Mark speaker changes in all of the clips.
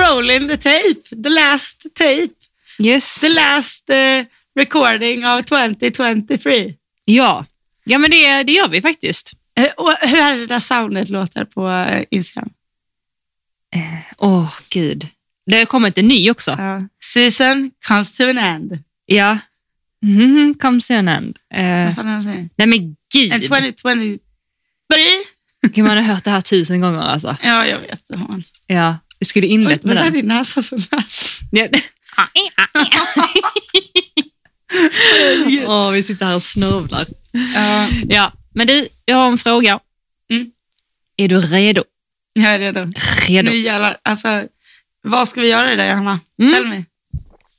Speaker 1: hole in the tape, the last tape,
Speaker 2: Yes.
Speaker 1: the last eh, recording of 2023.
Speaker 2: Ja. ja, men det, det gör vi faktiskt.
Speaker 1: Eh, och hur hade det där soundet låter på eh, Instagram?
Speaker 2: Åh, gud. Det har kommit en ny också.
Speaker 1: Ja. Season comes to an end.
Speaker 2: Ja. Mhm, comes to an end. Eh,
Speaker 1: Vad fan är det han säger? Eh,
Speaker 2: nej, men
Speaker 1: And
Speaker 2: gud.
Speaker 1: 2023?
Speaker 2: Gud, man har hört det här tusen gånger alltså.
Speaker 1: Ja, jag vet. det har man.
Speaker 2: Ja. Vi skulle
Speaker 1: Oj,
Speaker 2: inlett
Speaker 1: vad
Speaker 2: med
Speaker 1: är
Speaker 2: den.
Speaker 1: din näsa så lät.
Speaker 2: Ja. Åh, vi sitter här och snörvlar.
Speaker 1: Ja,
Speaker 2: Ja, men du, jag har en fråga.
Speaker 1: Mm.
Speaker 2: Är du redo?
Speaker 1: jag är redo.
Speaker 2: Redo.
Speaker 1: Nu jävlar, alltså, vad ska vi göra idag, Johanna?
Speaker 2: Mm.
Speaker 1: Tell me.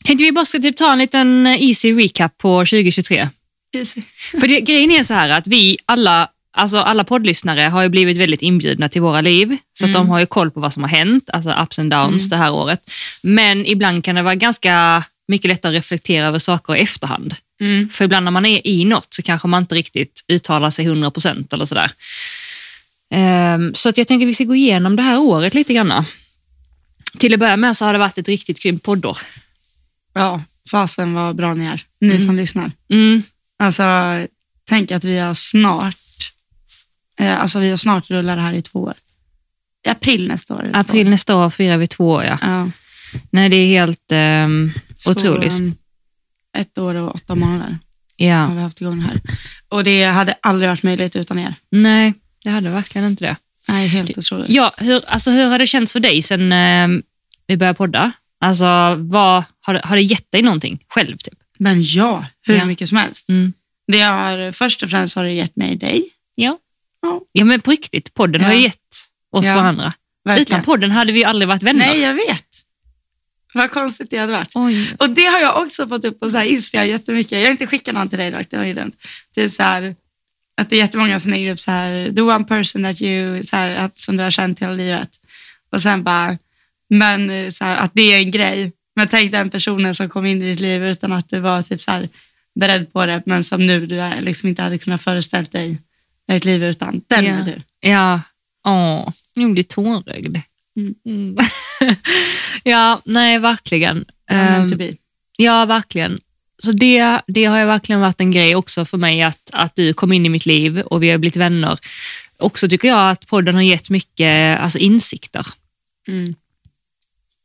Speaker 2: Tänkte vi bara ska typ ta en liten easy recap på 2023.
Speaker 1: Easy.
Speaker 2: För det, grejen är så här att vi alla, alltså alla poddlyssnare har ju blivit väldigt inbjudna till våra liv. Så att de har ju koll på vad som har hänt, alltså ups and downs det här året. Men ibland kan det vara ganska mycket lättare att reflektera över saker i efterhand.
Speaker 1: Mm.
Speaker 2: För ibland när man är i något så kanske man inte riktigt uttalar sig 100% eller sådär. Ehm, så att jag tänker att vi ska gå igenom det här året lite grann. Till att börja med så har det varit ett riktigt grymt poddår.
Speaker 1: Ja, fasen vad bra ni är, ni som lyssnar.
Speaker 2: Mm.
Speaker 1: Alltså, tänk att vi har snart, eh, alltså vi har snart rullat det här i två år. I april nästa år. är det två år.
Speaker 2: April nästa år firar vi två år, ja.
Speaker 1: Ja,
Speaker 2: Nej, det är helt ehm,
Speaker 1: så,
Speaker 2: otroligt. Mm.
Speaker 1: um, Ett år och åtta månader
Speaker 2: Ja.
Speaker 1: har vi haft igång det här. Och det hade aldrig varit möjligt utan er.
Speaker 2: Nej, det hade verkligen inte det.
Speaker 1: Nej, helt otroligt.
Speaker 2: Ja, hur, alltså, hur har det känts för dig sen ehm, vi började podda? Alltså, vad, har, det- har det gett dig någonting själv? Typ?
Speaker 1: Men ja, hur
Speaker 2: Ja.
Speaker 1: mycket som helst.
Speaker 2: Mm.
Speaker 1: Det har, först och främst har det gett mig dig.
Speaker 2: Ja.
Speaker 1: Ja.
Speaker 2: ja, men på riktigt. Podden har
Speaker 1: Ja.
Speaker 2: ju gett oss
Speaker 1: Ja,
Speaker 2: varandra.
Speaker 1: Verkligen.
Speaker 2: Utan podden hade vi ju aldrig varit vänner.
Speaker 1: Nej, jag vet. Vad konstigt det hade varit.
Speaker 2: Oj.
Speaker 1: Och det har jag också fått upp på så här Instagram jättemycket. Jag har inte skickat någon till dig dock, det var ju dumt. Det är så här, att det är jättemånga som lägger upp så här, the one person that you, så här, att, som du har känt hela livet. Och sen bara, men eh, så här, att det är en grej. Men tänk den personen som kom in i ditt liv utan att du var typ så här, beredd på det, men som nu du är, liksom inte hade kunnat föreställa dig ett liv utan. Den
Speaker 2: Ja.
Speaker 1: är du.
Speaker 2: Ja, åh, nu blir jag tårögd.
Speaker 1: Mm.
Speaker 2: Mm. ja, nej, verkligen.
Speaker 1: Um,
Speaker 2: Ehm,
Speaker 1: to be.
Speaker 2: Ja, verkligen. Så det, det har ju verkligen varit en grej också för mig att, att du kom in i mitt liv och vi har blivit vänner. Också tycker jag att podden har gett mycket alltså, insikter.
Speaker 1: Mm.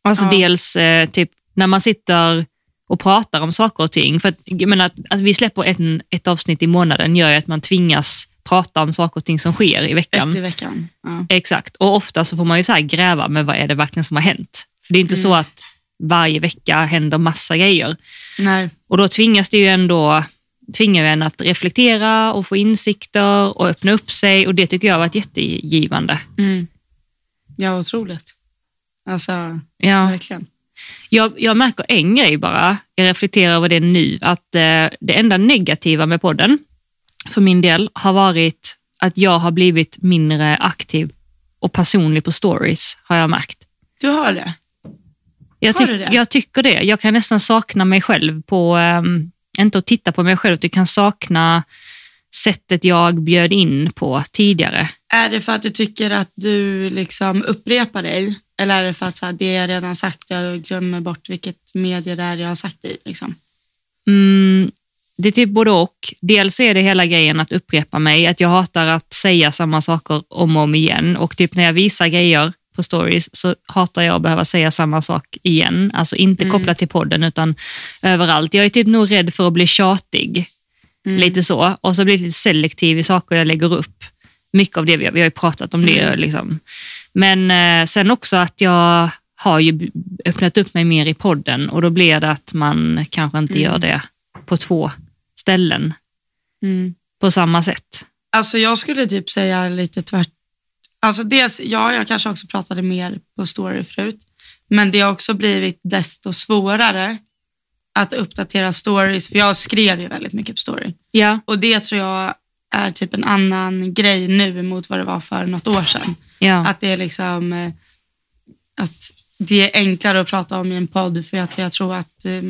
Speaker 2: Alltså
Speaker 1: Ja.
Speaker 2: dels eh, typ när man sitter och pratar om saker och ting. För att, jag menar, att, att vi släpper en, ett avsnitt i månaden gör ju att man tvingas prata om saker och ting som sker i veckan.
Speaker 1: Ett i veckan. Ja.
Speaker 2: Exakt, och ofta så får man ju så här gräva med vad är det verkligen som har hänt. För det är inte
Speaker 1: Mm.
Speaker 2: så att varje vecka händer massa grejer.
Speaker 1: Nej.
Speaker 2: Och då tvingas det ju ändå tvingar ju en att reflektera och få insikter och öppna upp sig och det tycker jag har varit jättegivande.
Speaker 1: Mm. Ja, otroligt. Alltså,
Speaker 2: Ja.
Speaker 1: verkligen.
Speaker 2: Jag, jag märker en grej bara, jag reflekterar över det nu, att eh, det enda negativa med podden för min del har varit att jag har blivit mindre aktiv och personlig på stories har jag märkt.
Speaker 1: Du har det?
Speaker 2: Jag,
Speaker 1: Har
Speaker 2: tyck,
Speaker 1: du det?
Speaker 2: jag tycker det. Jag kan nästan sakna mig själv på, ehm, inte att titta på mig själv, utan jag kan sakna sättet jag bjöd in på tidigare.
Speaker 1: Är det för att du tycker att du liksom upprepar dig? Eller är det för att så här, det jag redan sagt, jag glömmer bort vilket medie det är jag har sagt det i? Liksom?
Speaker 2: Mm, det är typ både och. Dels är det hela grejen att upprepa mig, att jag hatar att säga samma saker om och om igen och typ när jag visar grejer på stories så hatar jag att behöva säga samma sak igen. Alltså inte
Speaker 1: Mm.
Speaker 2: kopplat till podden utan överallt. Jag är typ nog rädd för att bli tjatig.
Speaker 1: Mm.
Speaker 2: Lite så. Och så blir jag lite selektiv i saker jag lägger upp. Mycket av det vi har, vi har ju pratat om det. Liksom. Men eh, sen också att jag har ju b- öppnat upp mig mer i podden och då blir det att man kanske inte gör det på två ställen på samma sätt.
Speaker 1: Mm. Alltså jag skulle typ säga lite tvärt... Alltså dels, ja, jag kanske också pratade mer på story förut, men det har också blivit desto svårare att uppdatera stories, för jag skrev ju väldigt mycket på story.
Speaker 2: Ja,
Speaker 1: Och det tror jag är typ en annan grej nu mot vad det var för något år sedan.
Speaker 2: ja,
Speaker 1: Att det är liksom eh, att det är enklare att prata om i en podd för att jag tror att eh,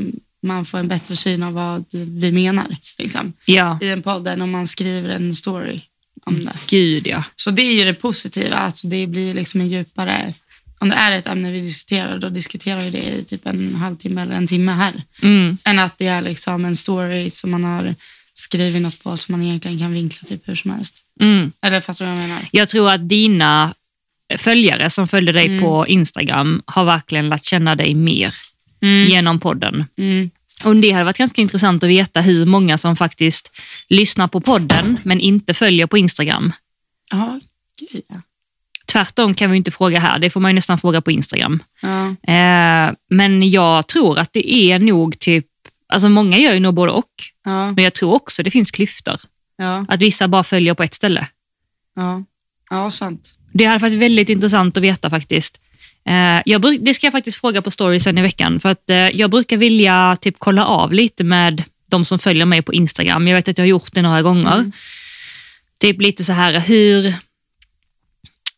Speaker 1: man får en bättre syn av vad vi menar liksom,
Speaker 2: ja.
Speaker 1: i en podd än om man skriver en story om det.
Speaker 2: Gud ja.
Speaker 1: Så det är ju det positiva, att det blir liksom en djupare om det är ett ämne vi diskuterar, då diskuterar vi det i typ en halvtimme eller en timme här.
Speaker 2: Mm.
Speaker 1: Än att det är liksom en story som man har skrivit något på som man egentligen kan vinkla typ hur som helst.
Speaker 2: Mm.
Speaker 1: Eller fattar du vad jag menar?
Speaker 2: Jag tror att dina följare som följde dig på Instagram har verkligen lärt känna dig mer
Speaker 1: Mm.
Speaker 2: genom podden.
Speaker 1: Mm.
Speaker 2: Och det hade varit ganska intressant att veta hur många som faktiskt lyssnar på podden men inte följer på Instagram.
Speaker 1: Ja, gud ja.
Speaker 2: Tvärtom kan vi ju inte fråga här, det får man ju nästan fråga på Instagram.
Speaker 1: ja.
Speaker 2: Eh, men jag tror att det är nog typ, alltså många gör ju nog både och,
Speaker 1: Ja,
Speaker 2: men jag tror också det finns klyftor.
Speaker 1: ja,
Speaker 2: Att vissa bara följer på ett ställe.
Speaker 1: ja. Ja, sant.
Speaker 2: Det hade varit väldigt intressant att veta faktiskt. Eh, jag bruk, det ska jag faktiskt fråga på story sen i veckan, för att eh, jag brukar vilja typ kolla av lite med de som följer mig på Instagram. Jag vet att jag har gjort det några gånger. Typ lite så här hur...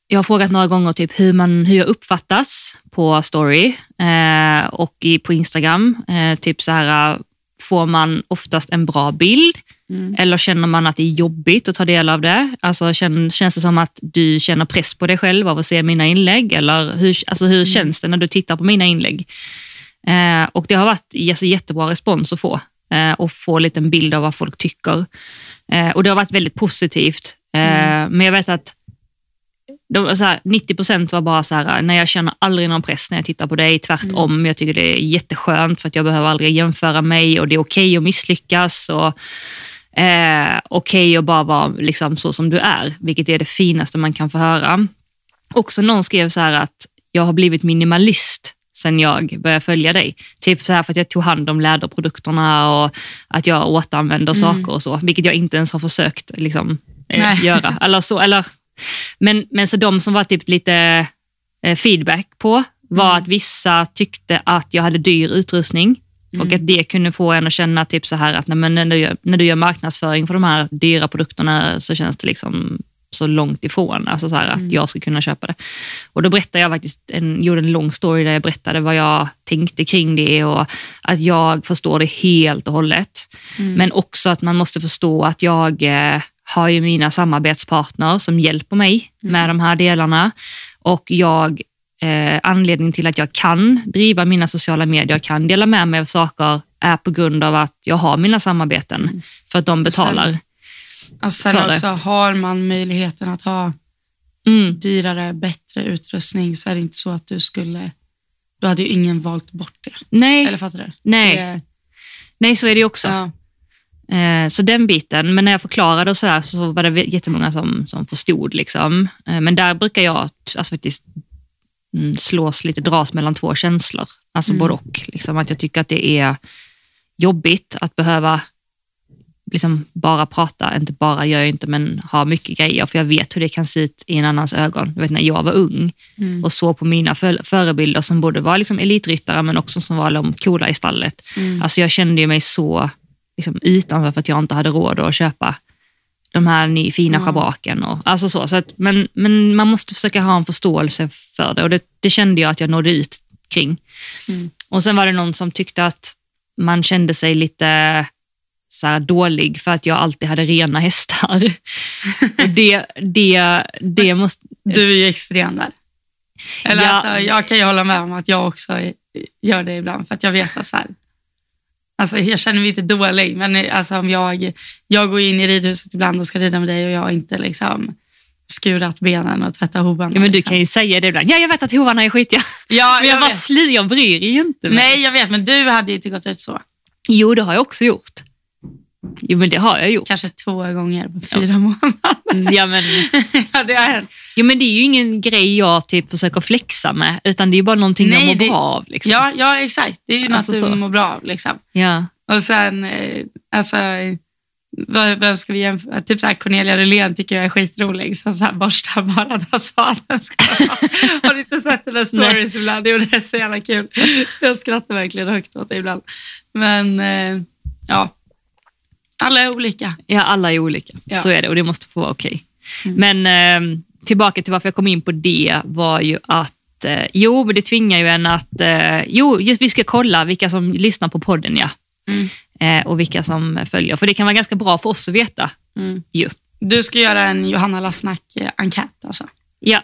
Speaker 2: Jag har frågat några gånger typ hur, man, hur jag uppfattas på story eh, och i, på Instagram. Eh, typ så här, eh, får man oftast en bra bild?
Speaker 1: Mm.
Speaker 2: Eller känner man att det är jobbigt att ta del av det? Alltså, känn, känns det som att du känner press på dig själv av att se mina inlägg? Eller hur, alltså, hur känns det när du tittar på mina inlägg? Eh, och Det har varit alltså, jättebra respons att få eh, och få lite en bild av vad folk tycker. Eh, och Det har varit väldigt positivt. Eh, Men jag vet att de, var så här, 90 procent var bara så här, när jag känner aldrig någon press när jag tittar på dig. Tvärtom, jag tycker det är jätteskönt för att jag behöver aldrig jämföra mig och det är okej att misslyckas. Och, eh, okej att bara vara liksom så som du är, vilket är det finaste man kan få höra. Också någon skrev så här att jag har blivit minimalist sen jag började följa dig. Typ så här för att jag tog hand om läderprodukterna och att jag återanvänder saker och så, vilket jag inte ens har försökt liksom, eh,
Speaker 1: Nej.
Speaker 2: göra. Eller så, eller, men, men så de som var typ lite eh, feedback på var att vissa tyckte att jag hade dyr utrustning och att det kunde få en att känna typ så här att nej, men när, du gör, när du gör marknadsföring för de här dyra produkterna så känns det liksom så långt ifrån, alltså så här att jag skulle kunna köpa det. Och då berättade jag faktiskt, en, gjorde en lång story där jag berättade vad jag tänkte kring det och att jag förstår det helt och hållet. Men också att man måste förstå att jag eh, har ju mina samarbetspartner som hjälper mig med de här delarna och jag eh, anledningen till att jag kan driva mina sociala medier och kan dela med mig av saker är på grund av att jag har mina samarbeten för att de
Speaker 1: sen-
Speaker 2: betalar.
Speaker 1: Alltså sen
Speaker 2: Sa det.
Speaker 1: också, har man möjligheten att ha
Speaker 2: Mm.
Speaker 1: dyrare, bättre utrustning så är det inte så att du skulle, då hade ju ingen valt bort det.
Speaker 2: Nej,
Speaker 1: Eller fattar du?
Speaker 2: nej,
Speaker 1: Det,
Speaker 2: nej, så är det ju också.
Speaker 1: ja,
Speaker 2: Eh, så den biten, men när jag förklarade och sådär så var det jättemånga som, som förstod. Liksom. Eh, men där brukar jag t- alltså, faktiskt mm, slås lite, dras mellan två känslor. Alltså både och. Liksom, att jag tycker att det är jobbigt att behöva liksom bara prata, inte bara gör jag inte, men ha mycket grejer. För jag vet hur det kan se ut i en annans ögon. Jag vet när jag var ung
Speaker 1: Mm.
Speaker 2: och såg på mina föl- förebilder som både var liksom elitryttare men också som var de coola i stallet.
Speaker 1: mm.
Speaker 2: Alltså jag kände ju mig så liksom, utanför för att jag inte hade råd att köpa de här ny, fina schabraken. Och, alltså så, så att, men, men man måste försöka ha en förståelse för det och det, det kände jag att jag nådde ut kring.
Speaker 1: Mm.
Speaker 2: Och sen var det någon som tyckte att man kände sig lite så här dålig för att jag alltid hade rena hästar. Och det, det, det måste...
Speaker 1: du är ju extrem där. Eller
Speaker 2: Ja.
Speaker 1: alltså, jag kan ju hålla med om att jag också gör det ibland för att jag vet att så här, alltså, jag känner mig inte dålig men alltså, om jag, jag går in i ridhuset ibland och ska rida med dig och jag har inte liksom skurat benen och tvättat hovarna.
Speaker 2: Ja, men du
Speaker 1: liksom.
Speaker 2: kan ju säga det ibland. Ja, jag vet att hovarna är skitiga.
Speaker 1: ja,
Speaker 2: Men jag,
Speaker 1: jag
Speaker 2: bara
Speaker 1: vet.
Speaker 2: slir, jag bryr mig ju inte. men-
Speaker 1: Nej, jag vet, men du hade ju inte gått ut så.
Speaker 2: Jo, det har jag också gjort. Jo, men det har jag gjort.
Speaker 1: Kanske två gånger på fyra månader.
Speaker 2: Ja, men,
Speaker 1: ja, det har hänt.
Speaker 2: jo, men det är ju ingen grej jag typ försöker flexa med, utan det är ju bara någonting jag
Speaker 1: Nej,
Speaker 2: mår
Speaker 1: det-
Speaker 2: bra av. Liksom.
Speaker 1: Ja, ja, exakt. Det är ju något
Speaker 2: Alltså
Speaker 1: du
Speaker 2: så.
Speaker 1: mår bra av. Liksom.
Speaker 2: Ja.
Speaker 1: Och sen, eh, alltså, eh, vad- vem ska vi jämföra? Typ så här Cornelia Rylén tycker jag är skitrolig, som så här borstar bara när salen ska Har ni inte sett hennes stories ibland? Jo, det är så jävla kul. Jag skrattar verkligen högt åt det ibland. Men eh, ja, alla är olika.
Speaker 2: Ja, alla är olika.
Speaker 1: Ja. Mm.
Speaker 2: Så är det och det måste få vara okej. Men eh, tillbaka till varför jag kom in på det var ju att eh, Jo, men det tvingar ju en att... Eh, jo, just vi ska kolla vilka som lyssnar på podden ja.
Speaker 1: Mm.
Speaker 2: Eh, och vilka som följer. För det kan vara ganska bra för oss att veta.
Speaker 1: Mm.
Speaker 2: Ju.
Speaker 1: Du ska göra en Johanna Lassnack-enkät eh, alltså.
Speaker 2: Ja,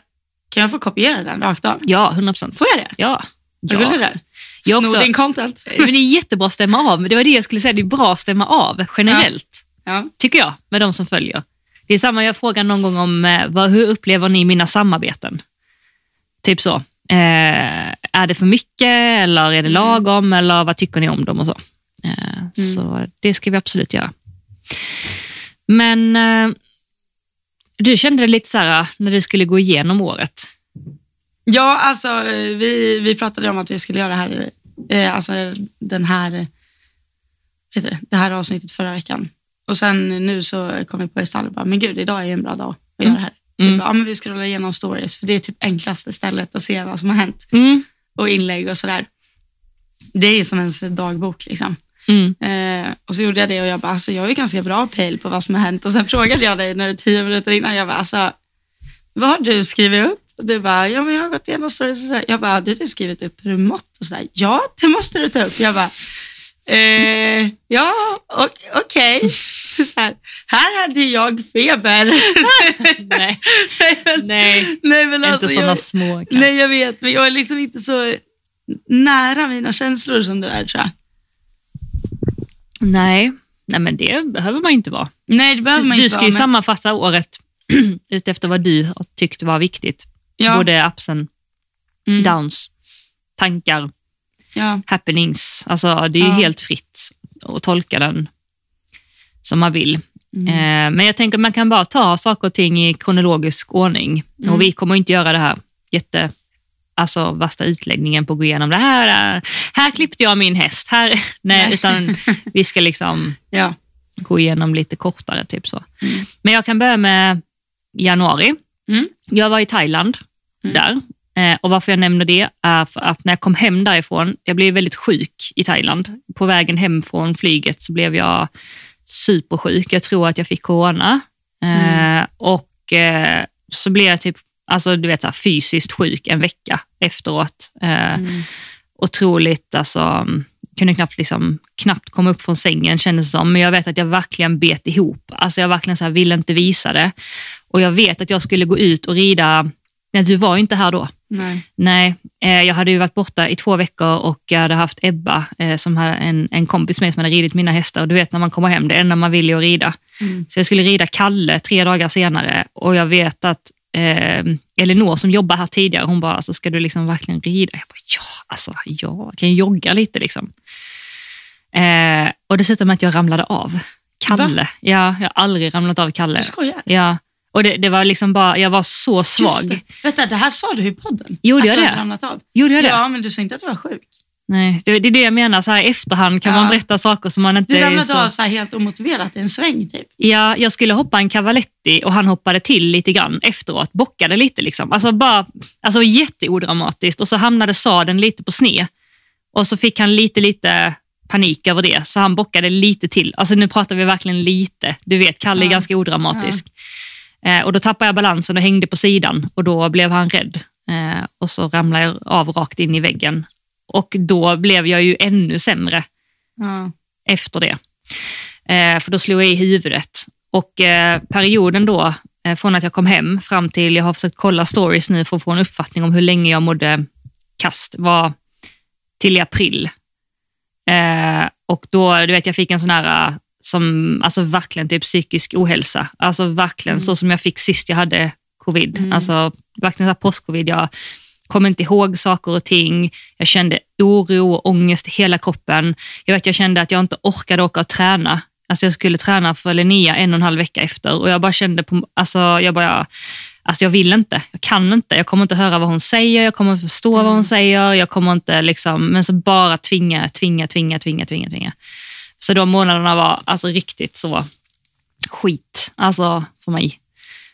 Speaker 1: Kan jag få kopiera den rakt av?
Speaker 2: Ja, 100 procent.
Speaker 1: Får jag det?
Speaker 2: Ja.
Speaker 1: Vad
Speaker 2: ja.
Speaker 1: gullig du är.
Speaker 2: Jag
Speaker 1: Snor
Speaker 2: också.
Speaker 1: din content.
Speaker 2: Men det är jättebra att stämma av. Men Det var det jag skulle säga, det är bra att stämma av generellt,
Speaker 1: Ja.
Speaker 2: tycker jag, med de som följer. Det är samma, jag frågade någon gång om eh, vad, hur upplever ni mina samarbeten? Typ så. Eh, är det för mycket eller
Speaker 1: Mm.
Speaker 2: är det lagom eller vad tycker ni om dem och så? Eh,
Speaker 1: Mm.
Speaker 2: Så det ska vi absolut göra. Men eh, du kände det lite så här eh, när du skulle gå igenom året.
Speaker 1: Ja, alltså eh, vi, vi pratade om att vi skulle göra det här, eh, alltså den här, eh, vet du, det här avsnittet förra veckan. Och sen nu så kom vi på istället bara, men gud, idag är ju en bra dag att göra det här. Vi
Speaker 2: Mm.
Speaker 1: bara, ja, men vi scrollar igenom stories, för det är typ enklaste stället att se vad som har hänt. Och inlägg och sådär. Det är ju som ens dagbok liksom.
Speaker 2: Mm.
Speaker 1: Eh, och så gjorde jag det och jag bara, alltså jag är ju ganska bra pejl på vad som har hänt. Och sen frågade jag dig när du tio minuter innan, jag bara, alltså, vad har du skrivit upp? Och du bara, ja men jag har gått igenom stories och sådär. Jag bara, hade du typ skrivit upp hur du mått och sådär? Ja, det måste du ta upp. Jag bara, eh, ja, o- okej. Så så här, här hade jag feber.
Speaker 2: Nej,
Speaker 1: nej, men,
Speaker 2: nej.
Speaker 1: nej, men alltså,
Speaker 2: inte sådana
Speaker 1: jag,
Speaker 2: små.
Speaker 1: nej, jag vet, men jag är liksom inte så nära mina känslor som du är tror jag.
Speaker 2: Nej. Nej, men det behöver man ju inte vara.
Speaker 1: Nej, det behöver man
Speaker 2: du
Speaker 1: inte
Speaker 2: ska
Speaker 1: vara,
Speaker 2: ju
Speaker 1: men-
Speaker 2: sammanfatta året utefter vad du har tyckt var viktigt.
Speaker 1: Ja.
Speaker 2: Både upsen,
Speaker 1: Mm.
Speaker 2: downs, tankar,
Speaker 1: Ja.
Speaker 2: happenings. Alltså, det är ju
Speaker 1: Ja.
Speaker 2: helt fritt att tolka den som man vill.
Speaker 1: Mm.
Speaker 2: Eh, Men jag tänker att man kan bara ta saker och ting i kronologisk ordning.
Speaker 1: Mm.
Speaker 2: Och vi kommer inte göra det här jätte alltså värsta utläggningen på att gå igenom det här. eh, Här klippte jag min häst. Här. Nej,
Speaker 1: Nej.
Speaker 2: utan vi ska liksom
Speaker 1: Ja.
Speaker 2: gå igenom lite kortare. Typ så. Men jag kan börja med januari.
Speaker 1: Mm.
Speaker 2: Jag var i Thailand
Speaker 1: Mm.
Speaker 2: där. Eh, Och Varför jag nämner det är för att när jag kom hem därifrån, jag blev väldigt sjuk i Thailand. På vägen hem från flyget så blev jag supersjuk. Jag tror att jag fick corona.
Speaker 1: Mm.
Speaker 2: Eh, Och eh, så blev jag typ, alltså du vet, så här, fysiskt sjuk en vecka efteråt. Eh,
Speaker 1: Mm.
Speaker 2: otroligt, alltså, kunde knappt, liksom, knappt komma upp från sängen kändes det som. Men jag vet att jag verkligen bet ihop. Alltså jag verkligen så här, ville inte visa det. Och jag vet att jag skulle gå ut och rida, nej du var ju inte här då.
Speaker 1: Nej.
Speaker 2: Nej, eh, jag hade ju varit borta i två veckor och jag hade haft Ebba, eh, som hade en, en kompis med som hade ridit mina hästar. Och du vet när man kommer hem, det enda man vill är att rida.
Speaker 1: Mm.
Speaker 2: Så jag skulle rida Kalle tre dagar senare och jag vet att eh, Elinor som jobbar här tidigare, hon bara, alltså, ska du liksom verkligen rida? Jag bara, ja, alltså, ja, jag kan ju jogga lite liksom. Eh, och dessutom att jag ramlade av. Kalle. Ja, jag har aldrig ramlat av Kalle.
Speaker 1: Du skojar?
Speaker 2: Ja. Och det, det var liksom bara, jag var så
Speaker 1: Just
Speaker 2: svag.
Speaker 1: det. Vänta, det här sa du i podden?
Speaker 2: Gjorde
Speaker 1: att
Speaker 2: jag
Speaker 1: du
Speaker 2: det?
Speaker 1: hade ramlat av?
Speaker 2: Gjorde jag det?
Speaker 1: Ja, men du sa inte att du var sjuk.
Speaker 2: Nej, det, det är det jag menar, så här i efterhand kan
Speaker 1: Ja.
Speaker 2: man berätta saker som man inte...
Speaker 1: Du
Speaker 2: är
Speaker 1: ramlade
Speaker 2: så...
Speaker 1: av så här helt omotiverat i en sväng typ.
Speaker 2: Ja, jag skulle hoppa en cavaletti och han hoppade till lite grann efteråt, bockade lite. Liksom. Alltså bara, alltså jätteodramatiskt och så hamnade sadeln lite på sned. Och så fick han lite, lite panik över det, så han bockade lite till. Alltså nu pratar vi verkligen lite. Du vet, Kalle är
Speaker 1: Ja.
Speaker 2: ganska odramatisk. Eh, och då tappade jag balansen och hängde på sidan och då blev han rädd. Eh, och så ramlade jag av rakt in i väggen. Och då blev jag ju ännu sämre
Speaker 1: Ja.
Speaker 2: efter det. Eh, för då slog jag i huvudet. Och eh, perioden då, eh, från att jag kom hem fram till, jag har försökt kolla stories nu för att få en uppfattning om hur länge jag mådde kast, var till i april. Eh, och då, du vet, jag fick en sån här, eh, som, alltså verkligen typ psykisk ohälsa. Alltså verkligen så som jag fick sist jag hade covid. Alltså verkligen så här post-covid. Jag kom inte ihåg saker och ting. Jag kände oro och ångest i hela kroppen. Jag vet, jag kände att jag inte orkade åka och träna. Alltså jag skulle träna för Linnea en och en halv vecka efter och jag bara kände på, alltså jag bara, alltså jag vill inte, jag kan inte, jag kommer inte höra vad hon säger, jag kommer inte förstå vad hon säger, jag kommer inte liksom, men så bara tvinga, tvinga, tvinga, tvinga, tvinga, tvinga. Så de månaderna var alltså riktigt så skit, alltså för mig.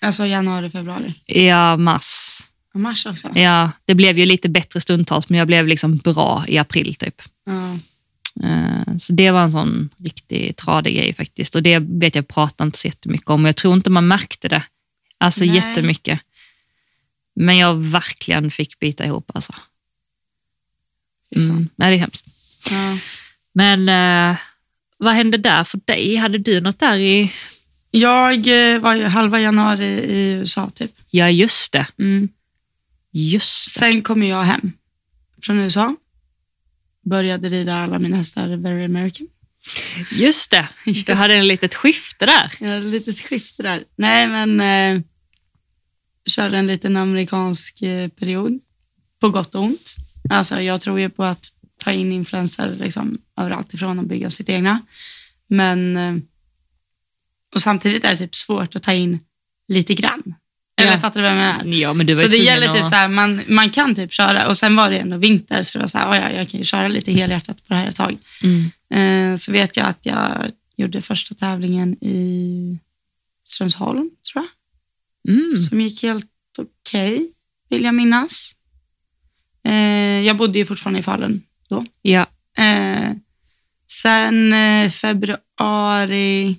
Speaker 1: Alltså januari, februari.
Speaker 2: Ja, mars.
Speaker 1: Och mars också.
Speaker 2: Ja, det blev ju lite bättre stundtals, men jag blev liksom bra i april typ.
Speaker 1: Ja.
Speaker 2: Eh, Så det var en sån riktig tradig grej faktiskt. Och det vet jag pratar inte så jättemycket om. Jag tror inte man märkte det. Alltså
Speaker 1: Nej.
Speaker 2: jättemycket. Men jag verkligen fick bita ihop alltså.
Speaker 1: fy fan.
Speaker 2: Mm. Nej, det är hemskt.
Speaker 1: Ja.
Speaker 2: Men eh, vad hände där för dig? Hade du något där i...
Speaker 1: Jag eh, var ju halva januari i USA typ.
Speaker 2: Ja, just det.
Speaker 1: Mm.
Speaker 2: Just
Speaker 1: Sen kom jag hem från USA. Började rida alla mina hästar Very American.
Speaker 2: det. Just det.
Speaker 1: Yes.
Speaker 2: Du hade en litet skifte där.
Speaker 1: Jag hade lite skifte där. Nej, men eh, körde en liten amerikansk eh, period. På gott och ont. Alltså, jag tror ju på att ta in influenser liksom, överallt ifrån och bygga sitt egna. Men eh, och samtidigt är det typ svårt att ta in lite grann. Eller
Speaker 2: Ja.
Speaker 1: fattar du vad jag menar?
Speaker 2: Ja, men du var
Speaker 1: Så
Speaker 2: ju
Speaker 1: det
Speaker 2: tvungen
Speaker 1: gäller typ
Speaker 2: att-
Speaker 1: så här, man, man kan typ köra och sen var det ändå vinter så det var så här, "Ah, ja, jag kan ju köra lite helhjärtat på det här ett tag.
Speaker 2: Mm.
Speaker 1: Eh, så vet jag att jag gjorde första tävlingen i Strömsholm, tror jag,
Speaker 2: Mm.
Speaker 1: som gick helt okej, vill jag minnas. Eh, jag bodde ju fortfarande i Falun då.
Speaker 2: Ja.
Speaker 1: Eh, sen eh, februari,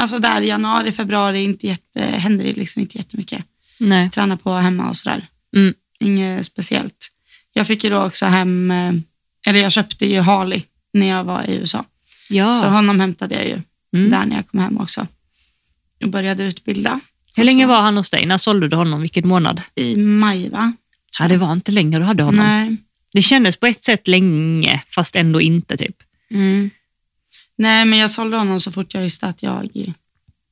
Speaker 1: alltså där januari, februari, inte jätte, händer det liksom inte jättemycket
Speaker 2: Nej.
Speaker 1: träna på hemma och sådär.
Speaker 2: Mm.
Speaker 1: Inget speciellt. Jag fick ju då också hem, eh, eller jag köpte ju Harley när jag var i USA.
Speaker 2: Ja.
Speaker 1: Så honom hämtade jag ju
Speaker 2: Mm.
Speaker 1: där när jag kom hem också. Och började utbilda.
Speaker 2: Hur
Speaker 1: Och
Speaker 2: länge
Speaker 1: så
Speaker 2: var han hos dig? När sålde du honom? Vilken månad?
Speaker 1: I maj va?
Speaker 2: Ja, det var inte länge du hade honom.
Speaker 1: Nej.
Speaker 2: Det kändes på ett sätt länge, fast ändå inte. typ.
Speaker 1: Mm. Nej, men jag sålde honom så fort jag visste att jag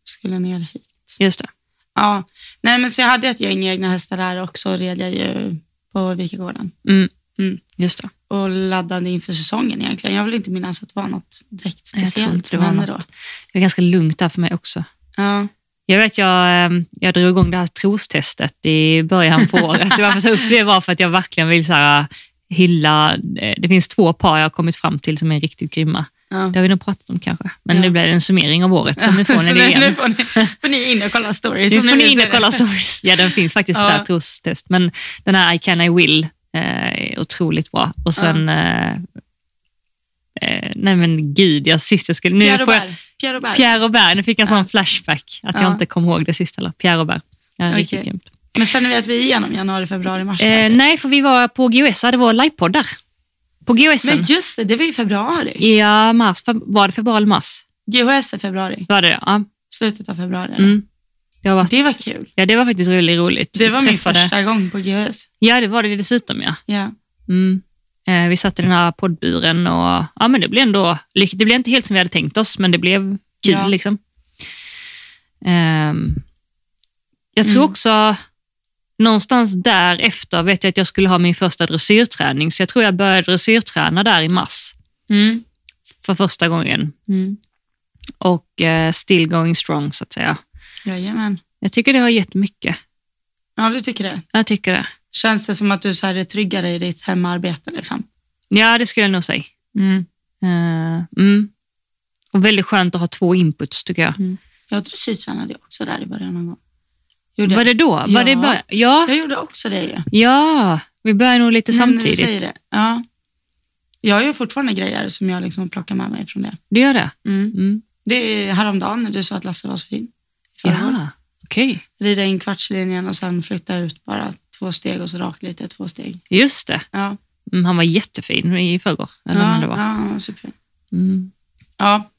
Speaker 1: skulle ner hit.
Speaker 2: Just det.
Speaker 1: Ja, nej men så jag hade ett gäng egna hästar där också och red jag ju på Vikagården.
Speaker 2: Mm.
Speaker 1: Mm.
Speaker 2: Just det.
Speaker 1: och laddade inför säsongen egentligen. Jag vill inte minnas att det var något direkt
Speaker 2: Nej, jag tror
Speaker 1: speciellt
Speaker 2: inte det
Speaker 1: som
Speaker 2: var
Speaker 1: hände
Speaker 2: något.
Speaker 1: då.
Speaker 2: Det var ganska lugnt där för mig också.
Speaker 1: Ja.
Speaker 2: Jag vet, jag, eh, jag drog igång det här trostestet i början på året. Det var för att ta upp det var för att jag verkligen vill så här, eh, hylla... eh, Det finns två par jag har kommit fram till som är riktigt grymma.
Speaker 1: Ja.
Speaker 2: Det har vi nog pratat om kanske, men
Speaker 1: Ja.
Speaker 2: nu blir det en summering av året. Så nu får ni
Speaker 1: Så
Speaker 2: det
Speaker 1: nu,
Speaker 2: igen.
Speaker 1: nu får ni, får ni in och kolla stories.
Speaker 2: Nu
Speaker 1: om
Speaker 2: får ni
Speaker 1: vill
Speaker 2: in
Speaker 1: se
Speaker 2: och
Speaker 1: det.
Speaker 2: kolla stories. Ja, den finns faktiskt
Speaker 1: Ja.
Speaker 2: där, trostest. Men den här I can, I will eh, är otroligt bra. Och sen... Eh, eh, nej men gud, jag, sist jag skulle... Nu
Speaker 1: Pierre
Speaker 2: får jag,
Speaker 1: Robert. Pierre Robert.
Speaker 2: Pierre Robert, nu fick jag en sån flashback att
Speaker 1: Ja.
Speaker 2: jag inte kom ihåg det sista. Eller? Pierre Robert. Ja,
Speaker 1: Okej.
Speaker 2: riktigt grymt.
Speaker 1: Men känner vi att vi är igenom januari, februari, mars?
Speaker 2: Eh,
Speaker 1: kanske?
Speaker 2: nej, för vi var på GOS, det var livepoddar. På GOS.
Speaker 1: men just det, det var ju februari.
Speaker 2: Ja, mars, feb- var det februari eller mars?
Speaker 1: GHS är februari.
Speaker 2: Var det det? Ja.
Speaker 1: Slutet av februari.
Speaker 2: Mm. Det, har varit,
Speaker 1: Det var kul.
Speaker 2: ja, det var faktiskt roligt. roligt.
Speaker 1: Det
Speaker 2: Vi
Speaker 1: var min
Speaker 2: träffade-
Speaker 1: första gång på GHS.
Speaker 2: Ja, det var det dessutom. ja.
Speaker 1: Ja.
Speaker 2: Mm. Eh, vi satt i den här poddburen och ja, men det blev ändå lyck- Det blev inte helt som vi hade tänkt oss, men det blev kul.
Speaker 1: Ja.
Speaker 2: Liksom. Ehm, jag tror
Speaker 1: Mm.
Speaker 2: också, någonstans därefter vet jag att jag skulle ha min första dressyrträning, så jag tror jag började dressyrträna där i mars
Speaker 1: Mm.
Speaker 2: för första gången.
Speaker 1: Mm.
Speaker 2: Och eh, still going strong, så att säga.
Speaker 1: Jajamän.
Speaker 2: Jag tycker det har gett mycket.
Speaker 1: Ja, du tycker det.
Speaker 2: Jag tycker det.
Speaker 1: Känns det som att du så här är tryggare i ditt hemarbete? Liksom?
Speaker 2: Ja, det skulle jag nog säga.
Speaker 1: Mm.
Speaker 2: Eh, mm. Och väldigt skönt att ha två inputs, tycker jag.
Speaker 1: Jag dressyrtränade också där i början någon gång. Gjorde
Speaker 2: Var
Speaker 1: jag.
Speaker 2: det då? Var det
Speaker 1: Ja.
Speaker 2: bara, ja,
Speaker 1: jag gjorde också det ju.
Speaker 2: ja, vi börjar nog lite
Speaker 1: Nu När du
Speaker 2: samtidigt.
Speaker 1: säger
Speaker 2: Det.
Speaker 1: det. Ja. Jag har ju fortfarande grejer som jag liksom plockar med mig från det.
Speaker 2: gör det? Mm.
Speaker 1: Det är häromdagen när du sa att Lasse var så fin. Ja.
Speaker 2: Ja, okej.
Speaker 1: Rida in kvartslinjen och sen flytta ut bara två steg och så rakt lite, två steg.
Speaker 2: Just det.
Speaker 1: Ja,
Speaker 2: Mm, han var jättefin i förrgår. Eller när
Speaker 1: ja,
Speaker 2: det var.
Speaker 1: ja superfin.
Speaker 2: Mm.
Speaker 1: Ja,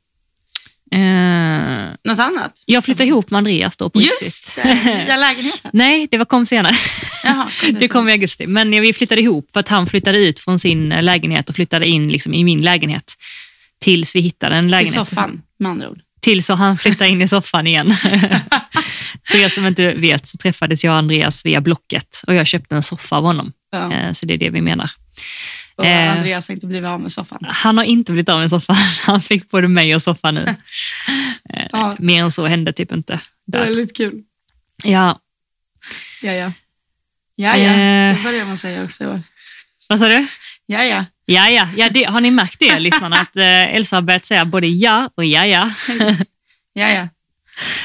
Speaker 2: Eh,
Speaker 1: något annat?
Speaker 2: jag flyttade ihop med Andreas då på riktigt.
Speaker 1: Just det, nya lägenheten.
Speaker 2: Nej, det var kom senare.
Speaker 1: Jaha, kom det
Speaker 2: Det
Speaker 1: sen.
Speaker 2: kom i augusti. Men vi flyttade ihop för att han flyttade ut från sin eh, lägenhet och flyttade in liksom i min lägenhet. Tills vi hittade en
Speaker 1: till
Speaker 2: lägenhet.
Speaker 1: soffan med andra ord.
Speaker 2: Tills så han flyttade in i soffan igen. för er som inte vet så träffades jag och Andreas via Blocket och jag köpte en soffa av honom.
Speaker 1: Ja.
Speaker 2: Eh, Så det är det vi menar.
Speaker 1: Och
Speaker 2: eh.
Speaker 1: Andreas har inte blivit av med soffan.
Speaker 2: Han har inte blivit av med soffan. Han fick både mig och soffan nu.
Speaker 1: Ja,
Speaker 2: Mer än så hände typ inte.
Speaker 1: det är
Speaker 2: Eh, Där.
Speaker 1: väldigt kul.
Speaker 2: Ja,
Speaker 1: Ja, ja. Ja, ja.
Speaker 2: Eh.
Speaker 1: Det börjar man säga också i år.
Speaker 2: vad sa du?
Speaker 1: Ja, ja.
Speaker 2: Ja, ja, ja det, har ni märkt det, lyssnarna? Att eh, Elsa har börjat säga både ja och ja, ja.
Speaker 1: Ja, ja.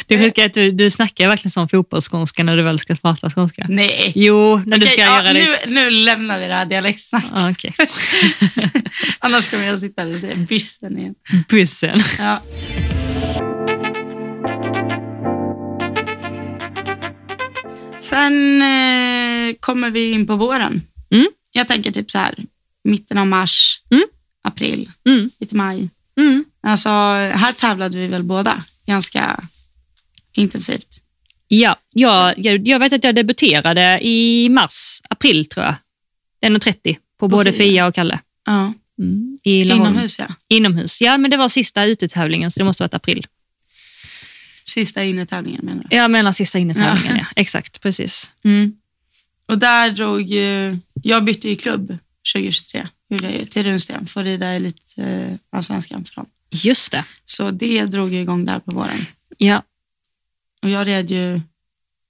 Speaker 2: Det sjuka är att du, du snackar verkligen som fotbollsskånska när du väl ska prata skånska.
Speaker 1: Nej.
Speaker 2: Jo, när du
Speaker 1: Okej,
Speaker 2: ska
Speaker 1: ja,
Speaker 2: göra det.
Speaker 1: nu, nu lämnar vi det här dialektsnacket.
Speaker 2: Ja, Okej,
Speaker 1: Annars kommer jag sitta här och säga byssen igen.
Speaker 2: bussen.
Speaker 1: Ja. Sen eh, kommer vi in på våren.
Speaker 2: Mm.
Speaker 1: Jag tänker typ så här, mitten av mars,
Speaker 2: Mm.
Speaker 1: april,
Speaker 2: Mm.
Speaker 1: lite maj.
Speaker 2: Mm.
Speaker 1: Alltså, här tävlade vi väl båda ganska intensivt.
Speaker 2: Ja, jag, jag, jag vet att jag debuterade i mars, april tror jag. 1.30 på både
Speaker 1: Fia?
Speaker 2: Fia och Kalle.
Speaker 1: Ja.
Speaker 2: Mm, i Laholm.
Speaker 1: Inomhus ja.
Speaker 2: Inomhus. Ja, men det var sista utetävlingen så det måste ha varit april.
Speaker 1: Sista innetävlingen menar
Speaker 2: Jag menar sista innetävlingen, ja. Exakt, precis.
Speaker 1: du? Mm. Och där drog ju, jag bytte ju klubb 2023, gjorde jag ju, till Runsten för att rida Elitallsvenskan för dem.
Speaker 2: Just det.
Speaker 1: Så det drog ju igång där på våren.
Speaker 2: Ja,
Speaker 1: Och jag red ju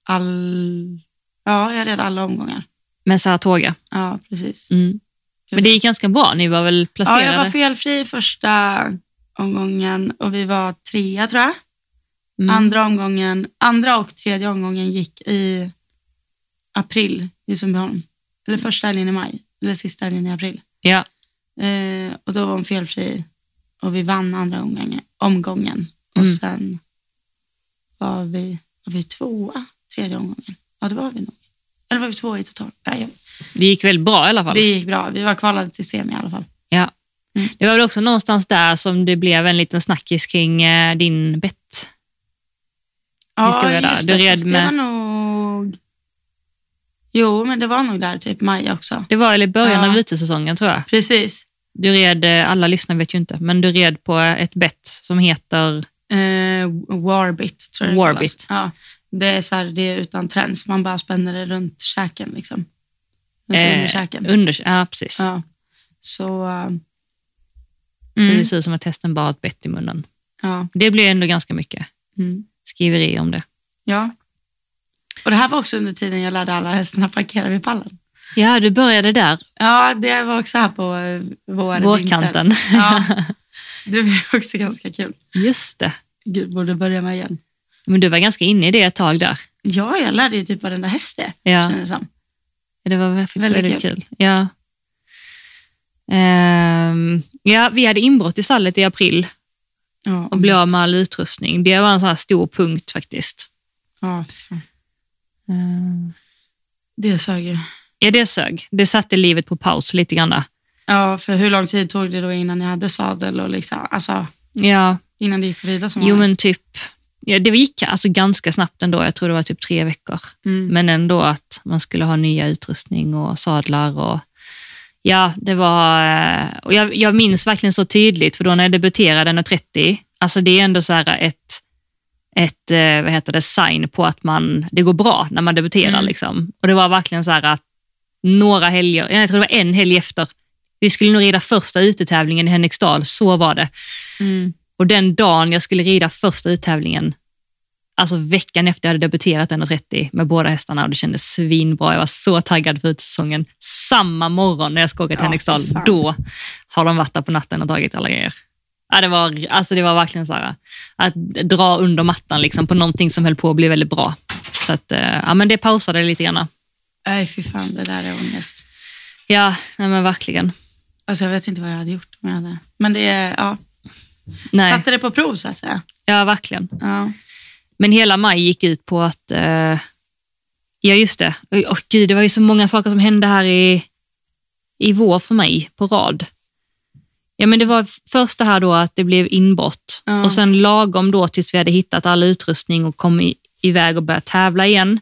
Speaker 1: all, ja jag red alla omgångar.
Speaker 2: med Saratoga.
Speaker 1: Ja, precis.
Speaker 2: Mm. Men det gick ganska bra, ni var väl
Speaker 1: Ja,
Speaker 2: placerade?
Speaker 1: jag var felfri första omgången och vi var trea tror jag.
Speaker 2: Mm.
Speaker 1: Andra omgången, andra och tredje omgången gick i april i Sundbyholm. Eller första helgen i maj, eller sista helgen i april.
Speaker 2: Ja,
Speaker 1: Eh, och då var hon felfri och vi vann andra omgången. omgången. Och
Speaker 2: Mm.
Speaker 1: sen var vi, var vi tvåa tredje omgången. Ja, det var vi nog. Eller var vi tvåa i totalt? Nej, ja.
Speaker 2: det gick väl bra i alla fall.
Speaker 1: det gick bra. Vi var kvalade till semi i alla fall.
Speaker 2: Ja.
Speaker 1: Mm.
Speaker 2: Det var väl också någonstans där som det blev en liten snackis kring eh, din bett. historia där.
Speaker 1: just
Speaker 2: Du red
Speaker 1: fast
Speaker 2: med-
Speaker 1: Det var nog... Jo, men det var nog där, typ maj också.
Speaker 2: Det var väl i början
Speaker 1: Ja.
Speaker 2: av utesäsongen tror jag.
Speaker 1: Precis.
Speaker 2: Du red, eh, alla lyssnare vet ju inte, men du red på eh, ett bett som heter,
Speaker 1: Eh, Warbit, tror jag det kallas.
Speaker 2: Warbit.
Speaker 1: Ja. Det är så här, det är utan träns. Man bara spänner det runt käken. Liksom. Runt
Speaker 2: Eh,
Speaker 1: underkäken.
Speaker 2: under, ja precis,
Speaker 1: Ja. Så, eh,
Speaker 2: så
Speaker 1: Mm.
Speaker 2: det ser ut som att hästen bara har ett bett i munnen.
Speaker 1: ja.
Speaker 2: Det blir ändå ganska mycket
Speaker 1: Mm.
Speaker 2: skriveri om det.
Speaker 1: ja. Och det här var också under tiden jag lärde alla hästarna parkera vid pallen.
Speaker 2: Ja, du började där,
Speaker 1: Ja, det var också här på eh, vår, vinter.
Speaker 2: vårkanten.
Speaker 1: Ja. Det var också ganska kul.
Speaker 2: Just det.
Speaker 1: Gud, borde börja med igen.
Speaker 2: Men du var ganska inne i det ett tag där.
Speaker 1: Ja, jag lärde ju typ varenda häst det,
Speaker 2: Ja.
Speaker 1: kändes det som.
Speaker 2: Det var faktiskt
Speaker 1: Väldigt
Speaker 2: väldigt, kul. Ja. Ehm, ja, vi hade inbrott i stallet i april
Speaker 1: Ja,
Speaker 2: och blev av med all utrustning. Det var en sån här stor punkt faktiskt.
Speaker 1: ja, fy fan.
Speaker 2: Ehm,
Speaker 1: det sög ju.
Speaker 2: ja, det sög. Det satte livet på paus lite grann. där.
Speaker 1: Ja, för hur lång tid tog det då innan jag hade sadel och liksom, alltså
Speaker 2: Ja,
Speaker 1: innan det gick att rida som
Speaker 2: jo
Speaker 1: vanligt?
Speaker 2: men typ. Ja, det gick alltså ganska snabbt ändå. Jag tror det var typ tre veckor.
Speaker 1: Mm.
Speaker 2: Men ändå att man skulle ha nya utrustning och sadlar och ja, det var eh, och jag, jag minns verkligen så tydligt för då när jag debuterade 1.30, alltså det är ändå så här ett ett eh, vad heter det, sign på att man, det går bra när man debuterar.
Speaker 1: Mm.
Speaker 2: Liksom. Och det var verkligen så här att några helger, jag tror det var en helg efter, vi skulle nog rida första utetävlingen i Henriksdal, så var det.
Speaker 1: Mm.
Speaker 2: Och den dagen jag skulle rida första uttävlingen, alltså veckan efter jag hade debuterat 1.30 med båda hästarna och det kändes svinbra. Jag var så taggad för utesäsongen. Samma morgon när jag ska åka till
Speaker 1: Ja,
Speaker 2: Henriksdal,
Speaker 1: för fan.
Speaker 2: då har de varit där på natten och tagit alla grejer. Ja, det, var, alltså det var verkligen så här, att dra under mattan liksom, på någonting som höll på att bli väldigt bra. Så att, eh, ja, men det pausade lite grann.
Speaker 1: Nej, fy fan, det där är ångest.
Speaker 2: Ja, nej, men verkligen.
Speaker 1: Alltså jag vet inte vad jag hade gjort om jag hade... Men det, är- ja,
Speaker 2: Nej,
Speaker 1: satte det på prov så att säga.
Speaker 2: ja, verkligen.
Speaker 1: Ja.
Speaker 2: Men hela maj gick ut på att, eh, ja just det, Oj, åh gud, det var ju så många saker som hände här i, i vår för mig på rad. Ja men det var först det här då att det blev inbrott
Speaker 1: Ja.
Speaker 2: och sen lagom då tills vi hade hittat all utrustning och kom i, iväg och började tävla igen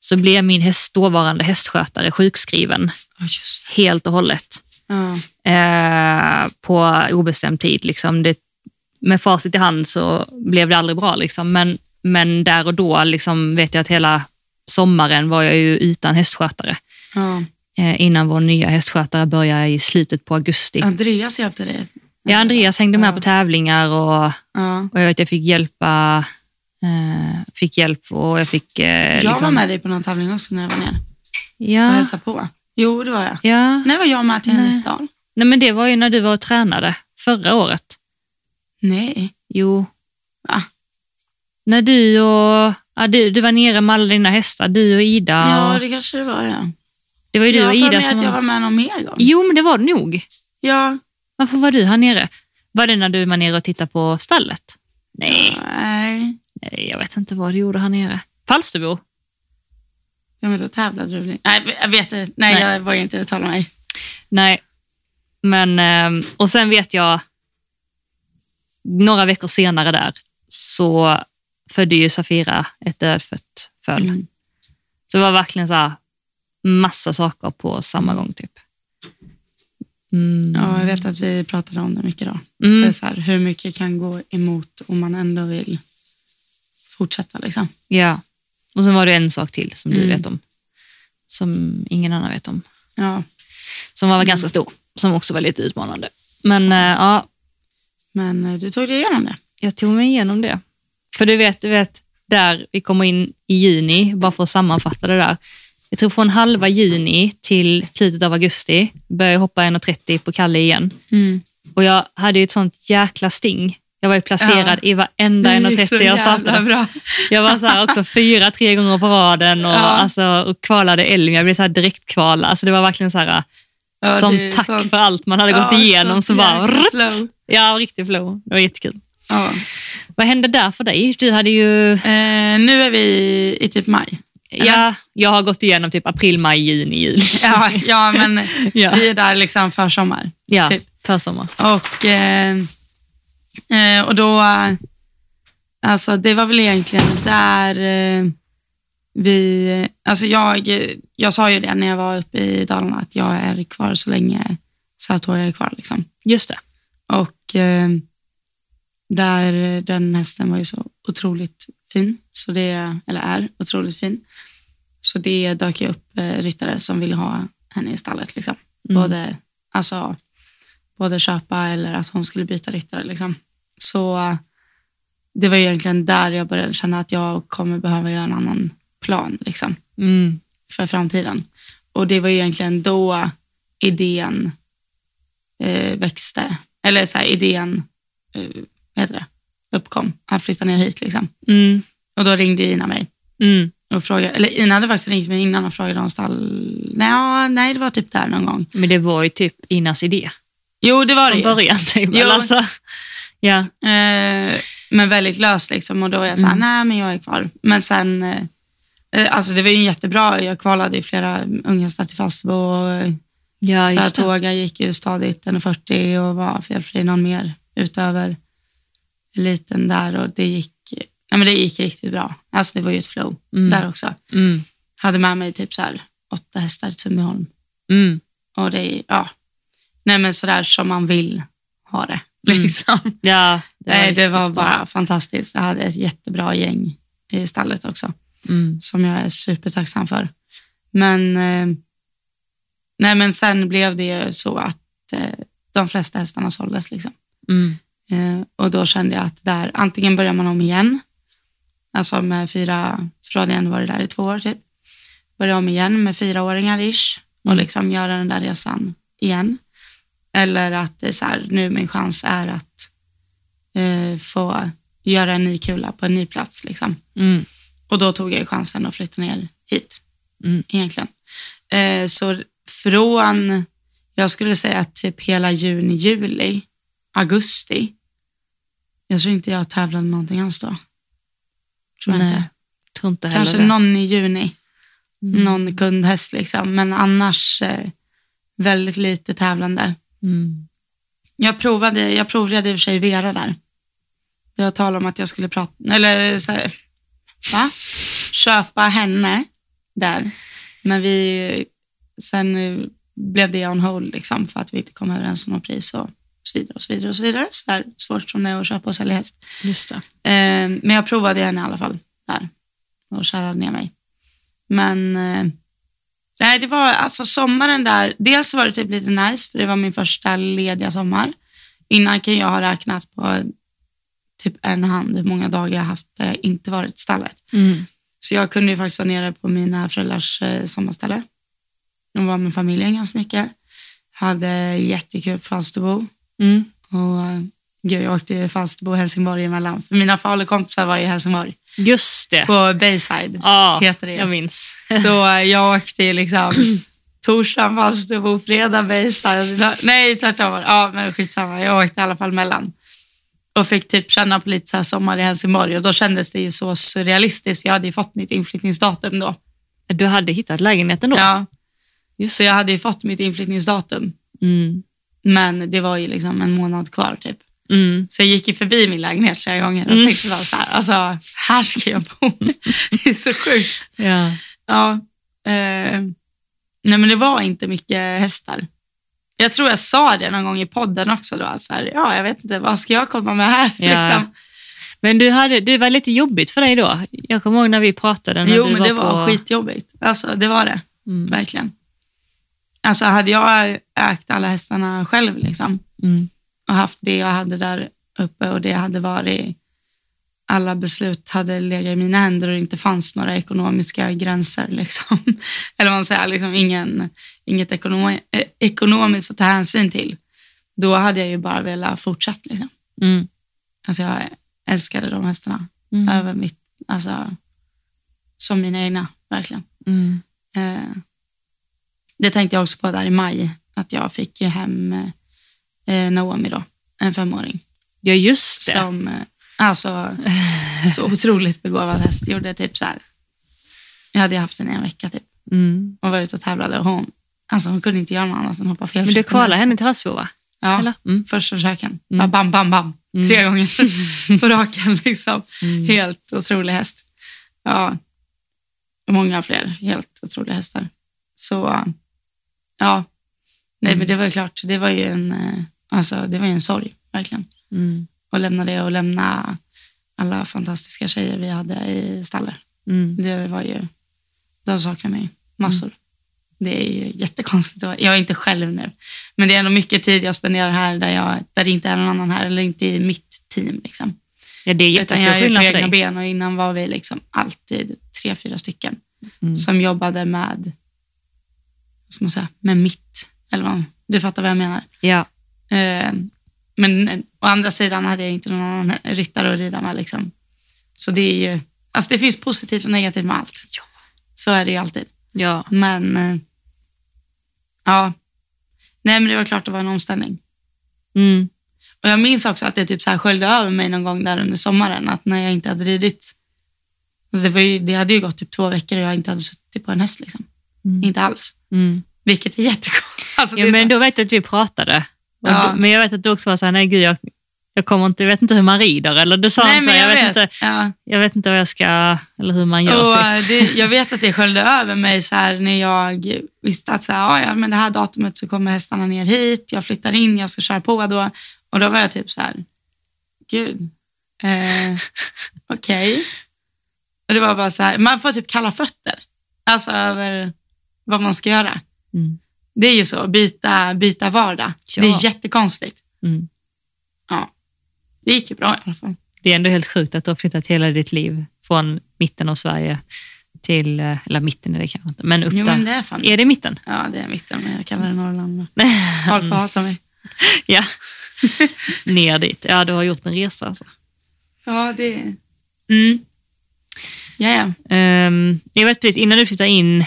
Speaker 2: så blev min häst, dåvarande hästskötare sjukskriven
Speaker 1: Ja, just det.
Speaker 2: helt och hållet
Speaker 1: Ja.
Speaker 2: eh, på obestämd tid. Liksom. Det, med facit i hand så blev det aldrig bra. Liksom. Men, men där och då liksom, vet jag att hela sommaren var jag ju utan hästskötare.
Speaker 1: Ja.
Speaker 2: Eh, innan vår nya hästskötare började i slutet på augusti.
Speaker 1: Andreas hjälpte dig.
Speaker 2: Ja, Andreas Eh, hängde med
Speaker 1: Mm. Ja.
Speaker 2: på tävlingar och,
Speaker 1: Ja.
Speaker 2: och jag, vet, jag fick hjälpa eh, fick hjälp och jag fick... Eh,
Speaker 1: Jag var
Speaker 2: liksom,
Speaker 1: med dig på någon tävling också när jag var ner och
Speaker 2: Ja,
Speaker 1: hälsade på. Jo, det var jag.
Speaker 2: ja.
Speaker 1: När var jag med till
Speaker 2: Nej.
Speaker 1: Henriksdal?
Speaker 2: Nej, men det var ju när du var och tränade förra året.
Speaker 1: Nej.
Speaker 2: Jo.
Speaker 1: Va?
Speaker 2: När du och... Ja, du, du var nere med alla dina hästar, du och Ida.
Speaker 1: Ja,
Speaker 2: och,
Speaker 1: det kanske det var. Ja.
Speaker 2: det var ju du
Speaker 1: jag
Speaker 2: och
Speaker 1: har för
Speaker 2: Ida
Speaker 1: mig
Speaker 2: som...
Speaker 1: att jag
Speaker 2: var...
Speaker 1: var med någon mer gång.
Speaker 2: Jo, men det var det nog.
Speaker 1: Ja.
Speaker 2: Varför var du här nere? Var det när du var nere och tittade på stallet? Nej,
Speaker 1: Nej.
Speaker 2: nej jag vet inte vad du gjorde här nere. Falsterbo?
Speaker 1: Ja, men då tävlade du väl inte? Nej, jag vet inte. Nej,
Speaker 2: Nej.
Speaker 1: jag vågar inte uttala mig.
Speaker 2: Nej. Men, ehm, och sen vet jag, några veckor senare där, så födde ju Safira ett dödfött föll.
Speaker 1: Mm.
Speaker 2: Så det var verkligen så här, massa saker på samma gång. typ. Mm.
Speaker 1: Ja, jag vet att vi pratade om det mycket idag. Det är
Speaker 2: Mm.
Speaker 1: så här, hur mycket kan gå emot om man ändå vill fortsätta. Liksom.
Speaker 2: ja. Och sen var det en sak till som du
Speaker 1: Mm.
Speaker 2: vet om, som ingen annan vet om.
Speaker 1: Ja,
Speaker 2: som
Speaker 1: Mm.
Speaker 2: var ganska stor, som också var lite utmanande. Men eh, ja,
Speaker 1: men eh, du tog dig igenom det.
Speaker 2: jag tog mig igenom det. För du vet, du vet, där vi kommer in i juni, bara för att sammanfatta det där. Jag tror från halva juni till slutet av augusti började jag hoppa 1,30 på Kalle igen. Och jag hade ju ett sånt jäkla sting. Jag var ju placerad i varenda
Speaker 1: Det gick
Speaker 2: 1,30
Speaker 1: så
Speaker 2: jag
Speaker 1: jävla
Speaker 2: startade.
Speaker 1: bra.
Speaker 2: Jag var så här också fyra, tre gånger på raden och,
Speaker 1: Ja.
Speaker 2: alltså, och kvalade Elm. Jag blev så här direkt kvala. Alltså det var verkligen så här,
Speaker 1: Ja, det
Speaker 2: som
Speaker 1: är
Speaker 2: tack
Speaker 1: sånt.
Speaker 2: för allt man hade
Speaker 1: Ja,
Speaker 2: gått igenom
Speaker 1: sånt
Speaker 2: så bara...
Speaker 1: jäkla
Speaker 2: rutt.
Speaker 1: flow.
Speaker 2: Ja, riktig flow. Det var jättekul.
Speaker 1: Ja.
Speaker 2: Vad hände där för dig? Du hade ju...
Speaker 1: Eh, nu är vi i typ maj.
Speaker 2: Ja, jag har gått igenom typ april, maj, juni, juli.
Speaker 1: Ja, ja men
Speaker 2: Ja.
Speaker 1: vi är där liksom för sommar.
Speaker 2: Ja,
Speaker 1: Typ.
Speaker 2: försommar.
Speaker 1: Och, eh, eh, och då, eh, alltså det var väl egentligen där eh, vi, alltså jag, eh, jag sa ju det när jag var uppe i Dalarna, att jag är kvar så länge Sartoria är kvar. Liksom.
Speaker 2: Just det.
Speaker 1: Och eh, där, den hästen var ju så otroligt fin, så det, eller är otroligt fin. Så det dök ju upp eh, ryttare som ville ha henne i stallet. Liksom.
Speaker 2: Mm.
Speaker 1: Både, alltså, både köpa eller att hon skulle byta ryttare. Liksom. Så eh, det var ju egentligen där jag började känna att jag kommer behöva göra en annan plan liksom,
Speaker 2: Mm.
Speaker 1: för framtiden. Och det var ju egentligen då idén eh, växte, eller så här, idén eh, vad heter det? uppkom, att flytta ner hit. Liksom.
Speaker 2: Mm.
Speaker 1: Och då ringde Ina mig
Speaker 2: Mm.
Speaker 1: och frågade, eller Ina hade faktiskt ringt mig innan och frågade om stall... Nej, nej, det var typ där någon gång.
Speaker 2: Men det var ju typ Inas idé
Speaker 1: Jo, det var det
Speaker 2: från
Speaker 1: ju.
Speaker 2: början. Typ.
Speaker 1: Jo.
Speaker 2: Alltså, ja.
Speaker 1: Eh, men väldigt löst liksom. Och då var jag
Speaker 2: Mm.
Speaker 1: såhär, nej men jag är kvar. Men sen, eh, eh, alltså det var ju jättebra. Jag kvalade i flera unghästar till Falsterbo. Och, eh,
Speaker 2: ja,
Speaker 1: så att
Speaker 2: just det.
Speaker 1: Tåga gick ju stadigt 1,40 och var felfri någon mer utöver eliten där. Och det gick, nej, men det gick riktigt bra. Alltså det var ju ett flow
Speaker 2: Mm.
Speaker 1: där också.
Speaker 2: Mm.
Speaker 1: Hade med mig typ så här åtta hästar till Sundbyholm.
Speaker 2: Mm.
Speaker 1: Och det, ja. Nej men sådär som man vill ha det. Liksom.
Speaker 2: Ja,
Speaker 1: Nej, det
Speaker 2: Mm. riktigt
Speaker 1: var
Speaker 2: bra.
Speaker 1: bara fantastiskt. Jag hade ett jättebra gäng i stallet också,
Speaker 2: Mm.
Speaker 1: som jag är supertacksam för. Men, eh, nej, men sen blev det ju så att eh, de flesta hästarna såldes. Liksom.
Speaker 2: Mm.
Speaker 1: Eh, och då kände jag att där, antingen börjar man om igen, alltså med fyra, från en var det där i två år typ, börja om igen med fyraåringar ish och
Speaker 2: Mm.
Speaker 1: liksom göra den där resan igen. Eller att det är så här, nu min chans är att eh, få göra en ny kula på en ny plats liksom.
Speaker 2: Mm.
Speaker 1: Och då tog jag ju chansen att flytta ner hit
Speaker 2: Mm.
Speaker 1: egentligen. Eh, så från, jag skulle säga att typ hela juni, juli, augusti. Jag tror inte jag tävlade någonting alls då. Tror jag
Speaker 2: Nej,
Speaker 1: inte.
Speaker 2: Tror inte heller
Speaker 1: Kanske
Speaker 2: det.
Speaker 1: någon i juni,
Speaker 2: Mm.
Speaker 1: någon kundhäst liksom. Men annars eh, väldigt lite tävlande.
Speaker 2: Mm.
Speaker 1: Jag provade, jag provade i och för sig Vera där. Det var tal om att jag skulle prata, eller så här, va? köpa henne där. Men vi, sen eh, blev det on hold liksom för att vi inte kom överens om något pris och så vidare och så vidare och så vidare. Så där, svårt som det är att köpa och sälja häst.
Speaker 2: Just det.
Speaker 1: Eh, men jag provade henne i alla fall där och kärrade ner mig. Men eh, nej, det var alltså sommaren där. Dels var det typ lite nice för det var min första lediga sommar. Innan kan jag ha räknat på typ en hand hur många dagar jag haft där jag inte varit i stallet.
Speaker 2: Mm.
Speaker 1: Så jag kunde ju faktiskt vara nere på mina föräldrars eh, sommarställe. De var med familjen ganska mycket. Hade jättekul på Falsterbo.
Speaker 2: Mm.
Speaker 1: Och, eh, gud, jag åkte ju Falsterbo och Helsingborg emellan. För mina falukompisar var i Helsingborg,
Speaker 2: Just det.
Speaker 1: på Bayside.
Speaker 2: Ja,
Speaker 1: heter det ju.
Speaker 2: jag minns.
Speaker 1: Så eh, jag åkte ju liksom torsdagen Falsterbo, fredag Bayside. Nej, tvärtom. var det. Ja, men skitsamma. Jag åkte i alla fall mellan. Och fick typ känna på lite så här sommar i Helsingborg. Och då kändes det ju så surrealistiskt, för jag hade ju fått mitt inflyttningsdatum då.
Speaker 2: Du hade hittat lägenheten då?
Speaker 1: Ja,
Speaker 2: Just
Speaker 1: så jag hade ju fått mitt inflyttningsdatum.
Speaker 2: Mm.
Speaker 1: Men det var ju liksom en månad kvar typ.
Speaker 2: Mm.
Speaker 1: Så jag gick ju förbi min lägenhet flera gånger och
Speaker 2: Mm.
Speaker 1: tänkte bara så här, alltså här ska jag bo. det är så sjukt.
Speaker 2: Ja.
Speaker 1: Ja, eh, nej men det var inte mycket hästar. Jag tror jag sa det någon gång i podden också då, att så här, ja jag vet inte, vad ska jag komma med här?
Speaker 2: Ja.
Speaker 1: Liksom.
Speaker 2: Men du hade, det var lite jobbigt för dig då. Jag kommer ihåg när vi pratade. När
Speaker 1: Jo,
Speaker 2: du
Speaker 1: men
Speaker 2: var
Speaker 1: det var
Speaker 2: på...
Speaker 1: skitjobbigt. Alltså, det var det.
Speaker 2: Mm.
Speaker 1: Verkligen. Alltså, hade jag ägt alla hästarna själv liksom,
Speaker 2: Mm.
Speaker 1: och haft det jag hade där uppe och det hade varit... Alla beslut hade legat i mina händer och det inte fanns några ekonomiska gränser. Liksom. Eller vad man säger, liksom ingen, inget ekonom, eh, ekonomiskt att ta hänsyn till. Då hade jag ju bara velat fortsätta. Liksom.
Speaker 2: Mm.
Speaker 1: Alltså, jag älskade de hästarna
Speaker 2: Mm.
Speaker 1: över mitt... Alltså, som mina egna, verkligen.
Speaker 2: Mm.
Speaker 1: Eh, det tänkte jag också på där i maj, att jag fick ju hem eh, Naomi då, en femåring.
Speaker 2: Ja, just det.
Speaker 1: Som, eh, alltså, så otroligt begåvad häst. Gjorde typ så här. Jag hade ju haft den i en vecka typ.
Speaker 2: Mm.
Speaker 1: Hon var ute och tävlade och hon, alltså, hon kunde inte göra något annat än hoppa fel.
Speaker 2: Men du
Speaker 1: fot med
Speaker 2: kvalade
Speaker 1: hästen.
Speaker 2: henne till Hasselbo,
Speaker 1: Ja,
Speaker 2: eller? Mm.
Speaker 1: första försöken.
Speaker 2: Mm.
Speaker 1: Bara Bam, bam, bam.
Speaker 2: Mm.
Speaker 1: Tre gånger på raken liksom.
Speaker 2: Mm.
Speaker 1: Helt otrolig häst. Ja, många fler helt otroliga hästar. Så ja, nej
Speaker 2: Mm.
Speaker 1: men det var ju klart, det var ju en, eh, alltså, det var ju en sorg verkligen.
Speaker 2: Mm.
Speaker 1: Att lämna det och lämna alla fantastiska tjejer vi hade i stallet.
Speaker 2: Mm.
Speaker 1: Det var ju, de saknar mig massor. Det är ju jättekonstigt. att vara- Jag är inte själv nu, men det är ändå mycket tid jag spenderar här där, jag, där det inte är någon annan här eller inte i mitt team. Liksom.
Speaker 2: Ja, det är
Speaker 1: Utan jag
Speaker 2: jättestor
Speaker 1: är ju på
Speaker 2: skillnad för
Speaker 1: egna
Speaker 2: dig.
Speaker 1: ben och innan var vi liksom alltid tre, fyra stycken
Speaker 2: Mm.
Speaker 1: som jobbade med, vad ska man säga, med mitt. Eller vad, du fattar vad jag menar.
Speaker 2: Ja.
Speaker 1: Eh, men eh, å andra sidan hade jag inte någon annan ryttare att rida med. Liksom. Så det är ju, alltså det finns positivt och negativt med allt.
Speaker 2: Ja.
Speaker 1: Så är det ju alltid.
Speaker 2: Ja.
Speaker 1: Men eh, ja, nej men det var klart det var en omställning.
Speaker 2: Mm.
Speaker 1: Och jag minns också att det typ så här sköljde över mig någon gång där under sommaren, att när jag inte hade ridit. Alltså det, var ju, det hade ju gått typ två veckor och jag inte hade suttit på en häst. Liksom.
Speaker 2: Mm.
Speaker 1: Inte alls.
Speaker 2: Mm.
Speaker 1: Vilket är jättekonstigt. Alltså, det
Speaker 2: Ja,
Speaker 1: är
Speaker 2: men
Speaker 1: så-
Speaker 2: då vet jag att vi pratade. Och
Speaker 1: Ja.
Speaker 2: då, men jag vet att du också var såhär, nej gud, jag, jag kommer inte, jag vet inte hur man rider. Eller du sa
Speaker 1: Nej,
Speaker 2: inte,
Speaker 1: men
Speaker 2: jag, jag, vet. inte,
Speaker 1: Ja.
Speaker 2: jag vet inte vad jag ska, eller hur man gör.
Speaker 1: Och
Speaker 2: typ.
Speaker 1: eh, det, jag vet att det sköljde över mig så här, när jag visste att så här, "Ah, ja, men det här datumet så kommer hästarna ner hit, jag flyttar in, jag ska köra på då. Och då var jag typ så här, gud, eh, okej. Och det var bara så här, man får typ kalla fötter, alltså över vad man ska göra.
Speaker 2: Mm.
Speaker 1: Det är ju så, byta, byta vardag.
Speaker 2: Ja.
Speaker 1: Det är jättekonstigt.
Speaker 2: Mm.
Speaker 1: Det gick ju bra i alla fall.
Speaker 2: Det är ändå helt sjukt att du har flyttat hela ditt liv från mitten av Sverige till, eh, eller mitten är det kanske inte, men upp
Speaker 1: Jo,
Speaker 2: där.
Speaker 1: men det är fan
Speaker 2: Är det mitten?
Speaker 1: Ja, det är mitten, men jag kallar det Norrland. Folk får hata mig.
Speaker 2: ja. Ner dit. Ja, du har gjort en resa alltså.
Speaker 1: Ja, det... Mm. Ja, ja.
Speaker 2: Ehm, jag vet precis, innan du flyttade in,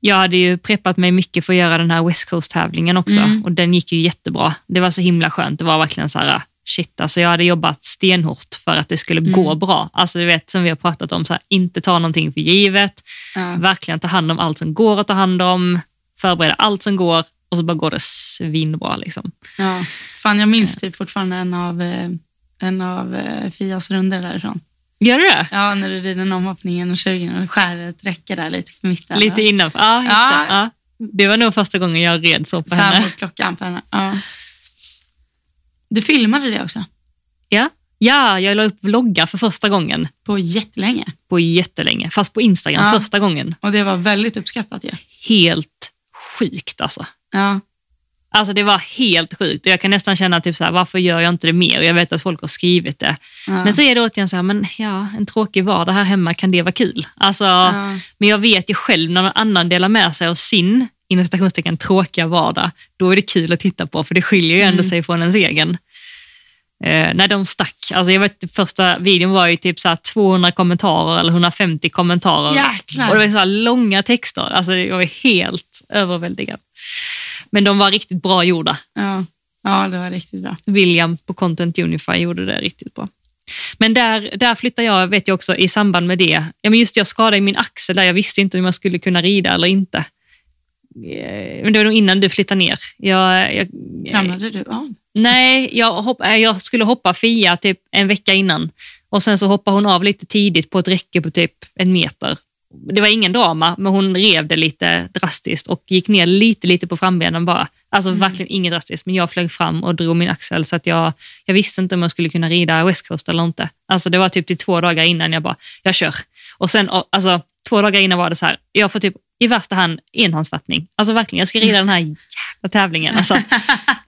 Speaker 2: jag hade ju preppat mig mycket för att göra den här West Coast-tävlingen också
Speaker 1: Mm.
Speaker 2: och den gick ju jättebra. Det var så himla skönt. Det var verkligen så här, shit, alltså jag hade jobbat stenhårt för att det skulle gå bra. Alltså du vet, som vi har pratat om, så här, inte ta någonting för givet,
Speaker 1: ja.
Speaker 2: verkligen ta hand om allt som går att ta hand om, förbereda allt som går och så bara går det svinbra liksom.
Speaker 1: ja. Fan, jag minns typ fortfarande en av, eh, en av eh, Fias runder därifrån.
Speaker 2: Gör du det?
Speaker 1: Ja, när du rider en omhoppning 20 och skär ett räcke där lite på mitten.
Speaker 2: Lite
Speaker 1: ja.
Speaker 2: innanför. Ja, just
Speaker 1: Ja.
Speaker 2: Det. Ja. det var nog första gången jag red så på
Speaker 1: Så här
Speaker 2: henne.
Speaker 1: mot klockan på henne. Ja. Du filmade det också,
Speaker 2: Ja. ja, jag la upp vloggar för första gången.
Speaker 1: på jättelänge.
Speaker 2: på jättelänge, fast på Instagram
Speaker 1: Ja.
Speaker 2: första gången.
Speaker 1: Och det var väldigt uppskattat ju.
Speaker 2: Helt sjukt alltså.
Speaker 1: Ja.
Speaker 2: Alltså det var helt sjukt och jag kan nästan känna typ så här, varför gör jag inte det mer? Och jag vet att folk har skrivit det.
Speaker 1: Ja.
Speaker 2: Men så är det återigen så här, men ja, en tråkig vardag här hemma, kan det vara kul? Alltså,
Speaker 1: ja.
Speaker 2: Men jag vet ju själv när någon annan delar med sig av sin, inom citationstecken, tråkiga vardag, då är det kul att titta på, för det skiljer ju ändå
Speaker 1: Mm.
Speaker 2: sig från ens egen. Eh, när de stack, alltså jag vet första videon var ju typ så här 200 kommentarer eller 150 kommentarer.
Speaker 1: Jäklar.
Speaker 2: Och det var så här långa texter, alltså jag var helt överväldigad. Men de var riktigt bra gjorda.
Speaker 1: ja. ja, det var riktigt bra.
Speaker 2: William på Content Unify gjorde det riktigt bra. Men där, där flyttade jag, vet jag också, i samband med det. Ja, men just det, jag skadade i min axel där, jag visste inte om jag skulle kunna rida eller inte. Eh, Men det var nog innan du flyttade ner. Jag, jag,
Speaker 1: Ramlade du av?
Speaker 2: Nej, jag, hopp, eh, jag skulle hoppa Fia typ en vecka innan och sen så hoppade hon av lite tidigt på ett räcke på typ en meter. Det var ingen drama, men hon rev det lite drastiskt och gick ner lite, lite på frambenen bara. Alltså verkligen inget drastiskt, men jag flög fram och drog min axel så att jag, jag visste inte om jag skulle kunna rida West Coast eller inte. Alltså det var typ till två dagar innan jag bara, jag kör. Och sen, och, alltså två dagar innan var det så här, jag får typ i värsta hand enhandsfattning. Alltså verkligen, jag ska rida den här jävla tävlingen. Alltså.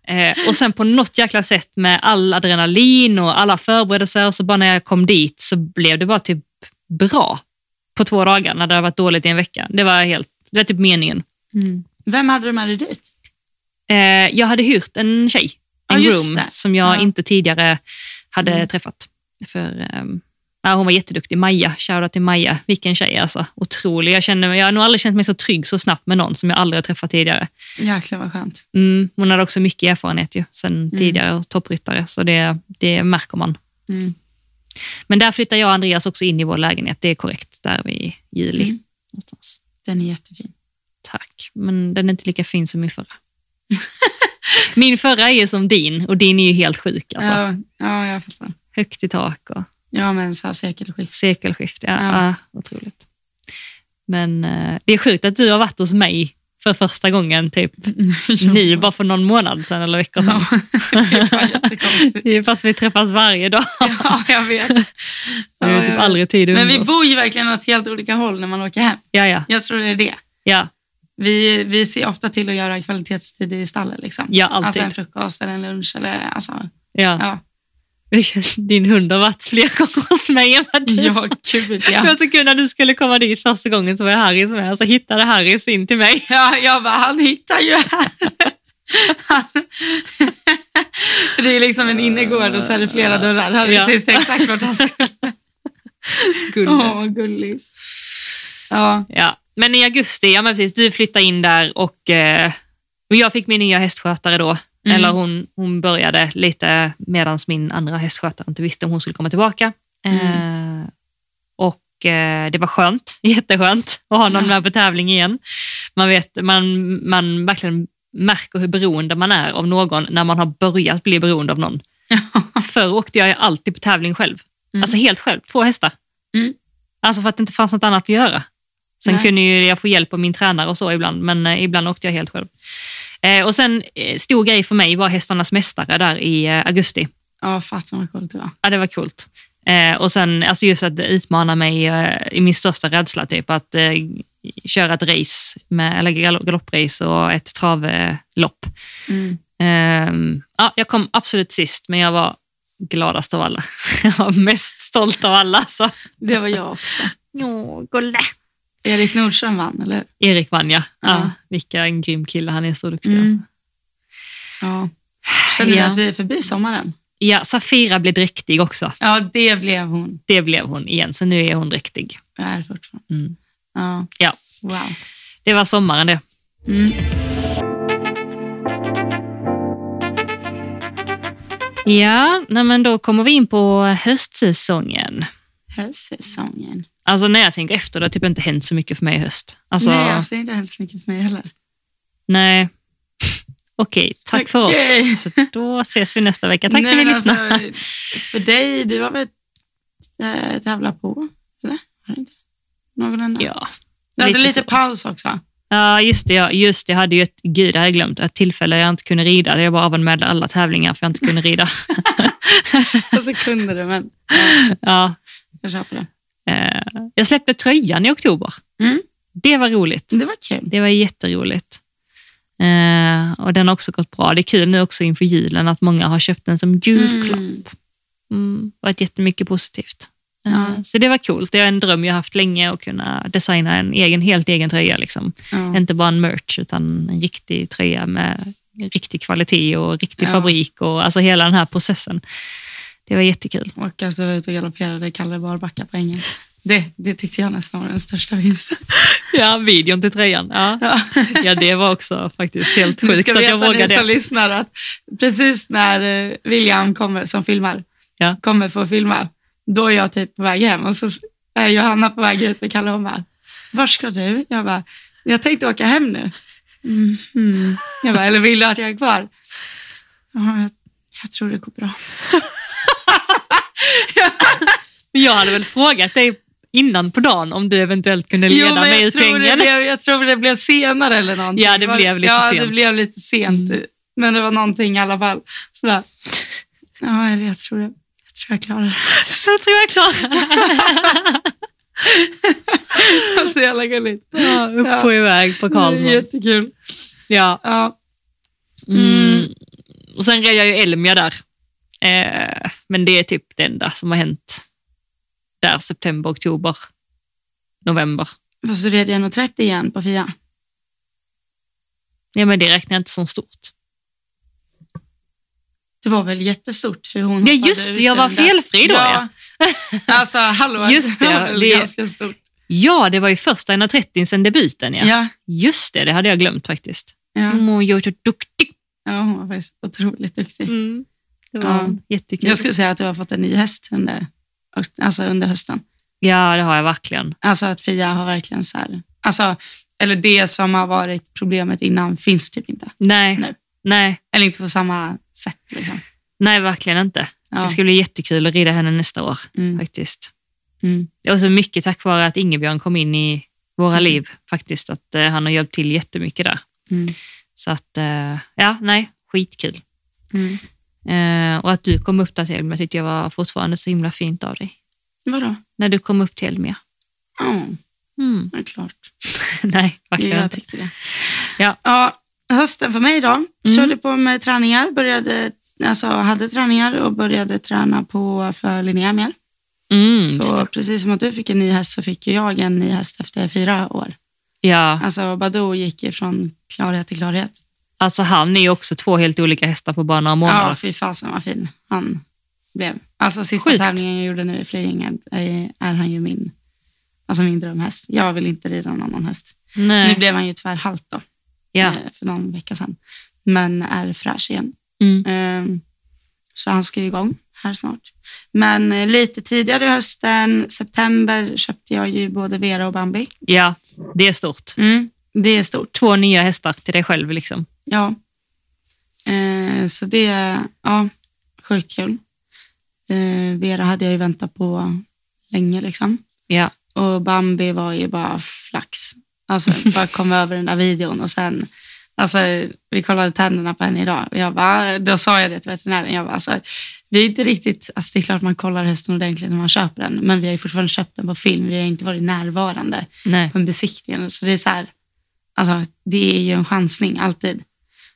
Speaker 2: Eh, och sen på något jäkla sätt med all adrenalin och alla förberedelser, så bara när jag kom dit så blev det bara typ bra på två dagar när det hade varit dåligt i en vecka. Det var, helt, det var typ meningen.
Speaker 1: Vem hade du med dig dit?
Speaker 2: Eh, jag hade hyrt en tjej,
Speaker 1: Ja,
Speaker 2: en
Speaker 1: just
Speaker 2: groom,
Speaker 1: det.
Speaker 2: som jag
Speaker 1: Ja.
Speaker 2: inte tidigare hade
Speaker 1: Mm.
Speaker 2: träffat. För, ehm, ja, hon var jätteduktig, Maja. Shoutout till Maja. Vilken tjej alltså. Otrolig. Jag, kände, mig- jag har nog aldrig känt mig så trygg så snabbt med någon som jag aldrig har träffat tidigare.
Speaker 1: Jäklar vad skönt.
Speaker 2: Mm, hon hade också mycket erfarenhet ju, sen tidigare och toppryttare, så det, det märker man.
Speaker 1: Mm.
Speaker 2: Men där flyttar jag och Andreas också in i vår lägenhet, det är korrekt, där vid i juli.
Speaker 1: Mm.
Speaker 2: Någonstans.
Speaker 1: Den är jättefin.
Speaker 2: Tack, men den är inte lika fin som min förra. min förra är ju som din och din är ju helt sjuk. Alltså.
Speaker 1: Ja, ja, jag fattar.
Speaker 2: Högt i tak och
Speaker 1: Ja, men så här sekelskift.
Speaker 2: sekelskift. Ja,
Speaker 1: Ja.
Speaker 2: ja. otroligt. Men eh, det är sjukt att du har varit hos mig för första gången typ nu, bara för någon månad sedan eller veckor sedan.
Speaker 1: Ja, Alltså,
Speaker 2: Mm.
Speaker 1: det är fan jättekonstigt.
Speaker 2: Fast vi träffas varje dag.
Speaker 1: Ja, jag vet.
Speaker 2: Det är
Speaker 1: Ja,
Speaker 2: typ
Speaker 1: jag vet.
Speaker 2: aldrig tid att
Speaker 1: Men vi
Speaker 2: umgås.
Speaker 1: bor ju verkligen åt helt olika håll när man åker hem.
Speaker 2: Ja, ja,
Speaker 1: Jag tror det är det.
Speaker 2: ja,
Speaker 1: Vi, vi ser ofta till att göra kvalitetstid i stallet. Liksom.
Speaker 2: Ja, alltid.
Speaker 1: Alltså en frukost eller en lunch. Eller, alltså,
Speaker 2: ja.
Speaker 1: ja.
Speaker 2: Din hund har varit fler gånger hos mig än vad du
Speaker 1: ja, gud
Speaker 2: Det var
Speaker 1: ja.
Speaker 2: så kul när du skulle komma dit första gången så var jag Harrys med och så hittade Harrys in till mig.
Speaker 1: ja. Jag bara, han hittar ju här. det är liksom en innergård och så är det flera dörrar. Harry
Speaker 2: Ja.
Speaker 1: visste exakt vart han skulle.
Speaker 2: Gulle.
Speaker 1: Åh, vad gullis. Ja,
Speaker 2: Ja. Men i augusti, ja men precis, du flyttade in där och eh, och jag fick min nya hästskötare då.
Speaker 1: Mm.
Speaker 2: Eller hon, hon började lite medan min andra hästskötare inte visste om hon skulle komma tillbaka.
Speaker 1: Mm.
Speaker 2: Eh, och eh, det var skönt, jätteskönt att ha någon
Speaker 1: Ja.
Speaker 2: med på tävling igen. Man, vet, man, man verkligen märker hur beroende man är av någon när man har börjat bli beroende av någon. Förr åkte jag ju alltid på tävling själv.
Speaker 1: Mm.
Speaker 2: Alltså helt själv, två hästar.
Speaker 1: Mm.
Speaker 2: Alltså för att det inte fanns något annat att göra. Sen
Speaker 1: Nej.
Speaker 2: kunde ju jag få hjälp av min tränare och så ibland, men eh, ibland åkte jag helt själv. Eh, och sen eh, stor grej för mig var hästarnas mästare där i eh, augusti.
Speaker 1: ja fasen vad coolt det var.
Speaker 2: Ja, det var coolt. Eh, och sen alltså just att utmana mig eh, i min största rädsla, typ att eh, köra ett race, med, eller gal- galopprace och ett travlopp.
Speaker 1: Mm.
Speaker 2: Ehm, ja, jag kom absolut sist, men jag var gladast av alla. Jag var mest stolt av alla. Så.
Speaker 1: Det var jag också.
Speaker 2: Åh, gulle.
Speaker 1: Erik Nordström vann, eller hur?
Speaker 2: Erik vann, ja. ja.
Speaker 1: Ja.
Speaker 2: Vilka en grym kille, han är så duktig.
Speaker 1: Mm.
Speaker 2: Alltså.
Speaker 1: Ja. Känner du
Speaker 2: Ja.
Speaker 1: att vi är förbi sommaren?
Speaker 2: Ja, Safira blev dräktig också.
Speaker 1: Ja, det blev hon.
Speaker 2: Det blev hon igen, så nu är hon dräktig.
Speaker 1: Jag är fortfarande.
Speaker 2: Mm.
Speaker 1: Ja.
Speaker 2: Ja,
Speaker 1: Wow.
Speaker 2: det var sommaren det.
Speaker 1: Mm.
Speaker 2: Ja, nej, men då kommer vi in på höstsäsongen.
Speaker 1: Höstsäsongen.
Speaker 2: Alltså när jag tänker efter, det har typ inte hänt så mycket för mig i höst. Alltså,
Speaker 1: Nej, alltså, det är inte hemskt mycket för mig heller.
Speaker 2: nej. Okej, tack för
Speaker 1: Okej.
Speaker 2: oss. Då ses vi nästa vecka. Tack
Speaker 1: Nej,
Speaker 2: för att ni
Speaker 1: men
Speaker 2: lyssnade.
Speaker 1: Alltså, för dig, du har väl äh, tävlat på, eller? Har du inte? Någon annan?
Speaker 2: Ja.
Speaker 1: du hade
Speaker 2: lite
Speaker 1: lite
Speaker 2: så.
Speaker 1: paus också.
Speaker 2: Ja, just det. Ja, just det. Jag hade ju ett, gud, det hade jag glömt, ett tillfälle där jag inte kunde rida. Där jag bara avanmälde alla tävlingar för jag inte kunde rida.
Speaker 1: Och så kunde du, men ja,
Speaker 2: ja.
Speaker 1: jag köper det.
Speaker 2: eh, jag släppte tröjan i oktober.
Speaker 1: Mm.
Speaker 2: Det var roligt.
Speaker 1: Det var kul.
Speaker 2: Det var jätteroligt. Eh, och den har också gått bra. Det är kul nu också inför julen att många har köpt den som julklapp.
Speaker 1: Mm.
Speaker 2: Mm, varit jättemycket positivt. Eh,
Speaker 1: Ja.
Speaker 2: Så det var kul. Det är en dröm jag haft länge att kunna designa en egen, helt egen tröja. Liksom.
Speaker 1: Ja.
Speaker 2: Inte bara en merch, utan en riktig tröja med riktig kvalitet och riktig
Speaker 1: Ja.
Speaker 2: fabrik och alltså hela den här processen. Det var jättekul.
Speaker 1: Och alltså var jag ute och galopperade Kalle Barbacka på ängen. Det, det tyckte jag nästan var den största vinsten.
Speaker 2: Ja, videon till tröjan. Ja.
Speaker 1: Ja.
Speaker 2: ja, det var också faktiskt helt
Speaker 1: Ni ska
Speaker 2: sjukt att
Speaker 1: veta
Speaker 2: jag vågade.
Speaker 1: ni som lyssnar att precis när eh, William kommer, som filmar
Speaker 2: Ja.
Speaker 1: kommer för att filma, då är jag typ på väg hem och så är Johanna på väg ut med Kalle och hon bara, vart ska du? Jag bara, jag tänkte åka Mm-hmm. hem nu. Mhm. Jag bara, eller vill du att jag är kvar? "Ja, jag jag tror det går bra.
Speaker 2: Men Jag hade väl frågat dig innan på dagen om du eventuellt kunde leda
Speaker 1: Jo, men
Speaker 2: mig
Speaker 1: jag
Speaker 2: ut
Speaker 1: tror, det
Speaker 2: sängen.
Speaker 1: blev, jag tror det blev senare eller någonting.
Speaker 2: Ja, det
Speaker 1: var-
Speaker 2: blev lite
Speaker 1: ja, det
Speaker 2: sent. Mm.
Speaker 1: blev lite sent. Men det var någonting i alla fall. Så bara, ja, eller jag tror jag, jag, tror jag klarar det.
Speaker 2: Så tror jag klarar
Speaker 1: Så jävla gulligt.
Speaker 2: ja, Upp och iväg på
Speaker 1: Det är
Speaker 2: Karlsson.
Speaker 1: Jättekul.
Speaker 2: Ja.
Speaker 1: Ja.
Speaker 2: Mm. Och sen räddade jag ju Elmia där. Eh, men det är typ det enda som har hänt där september, oktober, november.
Speaker 1: Och så red jag nog 30 igen på Fia.
Speaker 2: Ja, men det räknar jag inte som stort.
Speaker 1: Det var väl jättestort hur hon
Speaker 2: Ja,
Speaker 1: hoppade
Speaker 2: just det,
Speaker 1: ut
Speaker 2: jag var
Speaker 1: ur den där.
Speaker 2: felfri då,
Speaker 1: ja. Alltså, hallå.
Speaker 2: Just det,
Speaker 1: var väl
Speaker 2: det-
Speaker 1: ganska stort.
Speaker 2: Ja, det var ju första 130 sedan debuten. Ja.
Speaker 1: Ja.
Speaker 2: Just det, det hade jag glömt faktiskt.
Speaker 1: Ja.
Speaker 2: Mm, och jag är så duktig.
Speaker 1: ja, hon var faktiskt otroligt duktig.
Speaker 2: Mm. Det var
Speaker 1: var
Speaker 2: jättekul.
Speaker 1: Jag skulle säga att du har fått en ny häst under, alltså under hösten.
Speaker 2: Ja, det har jag verkligen.
Speaker 1: Alltså att Fia har verkligen så här, alltså, eller det som har varit problemet innan finns typ inte.
Speaker 2: Nej,
Speaker 1: Nu.
Speaker 2: nej,
Speaker 1: Eller inte på samma sätt. Liksom.
Speaker 2: nej verkligen inte.
Speaker 1: Ja.
Speaker 2: Det ska bli jättekul att rida henne nästa år
Speaker 1: Mm.
Speaker 2: faktiskt.
Speaker 1: Mm.
Speaker 2: Och så mycket tack vare att Ingebjörn kom in i våra liv faktiskt. Att eh, han har hjälpt till jättemycket där.
Speaker 1: Mm.
Speaker 2: Så att, eh, ja, nej, skitkul.
Speaker 1: Mm.
Speaker 2: Eh, och att du kom upp där till Elmia tyckte jag var fortfarande så himla fint av dig.
Speaker 1: Vadå?
Speaker 2: När du kom upp till Elmia.
Speaker 1: Ja,
Speaker 2: Mm.
Speaker 1: det är klart.
Speaker 2: nej, verkligen
Speaker 1: Jag
Speaker 2: inte.
Speaker 1: tyckte det.
Speaker 2: Ja. Mm.
Speaker 1: Ja, hösten för mig då. Körde på med träningar, började, alltså hade träningar och började träna på för Linnea mer.
Speaker 2: Mm, just
Speaker 1: så
Speaker 2: det.
Speaker 1: precis som att du fick en ny häst så fick ju jag en ny häst efter fyra år.
Speaker 2: Ja,
Speaker 1: Alltså Badou gick ju från klarhet till klarhet.
Speaker 2: alltså han är ju också två helt olika hästar på bara några
Speaker 1: Ja,
Speaker 2: månader.
Speaker 1: fy fasen vad fin han blev. Alltså sista
Speaker 2: Sjukt.
Speaker 1: tävlingen jag gjorde nu i Flyinge är, är han ju min, alltså min drömhäst. Jag vill inte rida någon annan häst.
Speaker 2: Nej.
Speaker 1: Nu blev han ju tyvärr halt då,
Speaker 2: ja.
Speaker 1: eh, för någon vecka sedan. Men är fräsch igen.
Speaker 2: Mm.
Speaker 1: Ehm, Så han ska ju igång här snart. Men eh, lite tidigare i hösten, september, köpte jag ju både Vera och Bambi.
Speaker 2: ja, det är stort.
Speaker 1: Det är stort.
Speaker 2: Två nya hästar till dig själv. Liksom.
Speaker 1: Ja. Eh, så det är ja, sjukt kul. Eh, Vera hade jag ju väntat på länge. liksom.
Speaker 2: Ja.
Speaker 1: Och Bambi var ju bara flax. Alltså bara kom över den där videon och sen, alltså vi kollade tänderna på henne idag och jag bara, då sa jag det till veterinären, jag bara, alltså, vi är inte riktigt, alltså det är klart man kollar hästen ordentligt när man köper den, men vi har ju fortfarande köpt den på film, vi har ju inte varit närvarande
Speaker 2: Nej.
Speaker 1: på en besiktning. Så det är så här, alltså, det är ju en chansning alltid.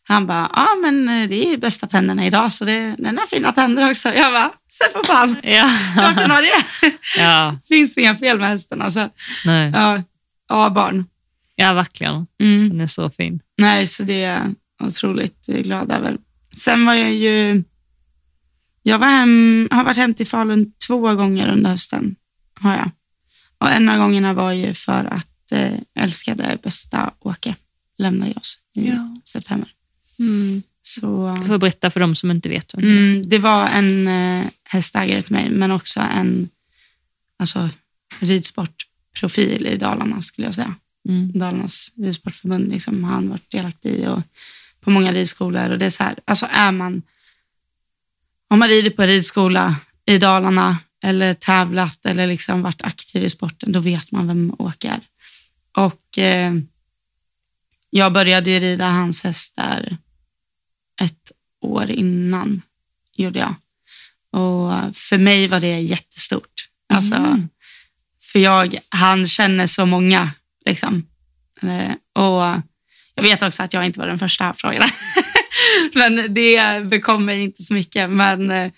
Speaker 1: Han bara, ja men eh, det är bästa tänderna idag så det, den har fina tänder också. Jag bara, se på fan,
Speaker 2: Ja.
Speaker 1: klart den har det.
Speaker 2: ja,
Speaker 1: finns inga fel med hästen alltså.
Speaker 2: nej.
Speaker 1: Ja, ja barn.
Speaker 2: ja, verkligen.
Speaker 1: Mm.
Speaker 2: Den är så fin.
Speaker 1: Nej, så det är jag otroligt eh, glad över. Sen var jag ju, jag var hem, har varit hem till Falun två gånger under hösten. Har jag. Och en av gångerna var ju för att eh, älskade bästa Åke lämnade oss i
Speaker 2: Ja.
Speaker 1: september.
Speaker 2: Mm.
Speaker 1: Så
Speaker 2: Jag får berätta för dem som inte vet. vem det är.
Speaker 1: mm, det var en eh, hästägare till mig, men också en alltså, ridsportprofil i Dalarna skulle jag säga.
Speaker 2: Mm.
Speaker 1: Dalarnas ridsportförbund liksom, har han varit delaktig i och på många ridskolor. Och det är så här, alltså är man, om man rider på en ridskola i Dalarna eller tävlat eller liksom varit aktiv i sporten, då vet man vem Åke är. Och eh, jag började ju rida hans hästar ett år innan, gjorde jag. Och för mig var det jättestort. Alltså, För jag, han känner så många. Liksom. Eh, Och jag vet också att jag inte var den första han frågade. men det bekom mig inte så mycket. Men eh,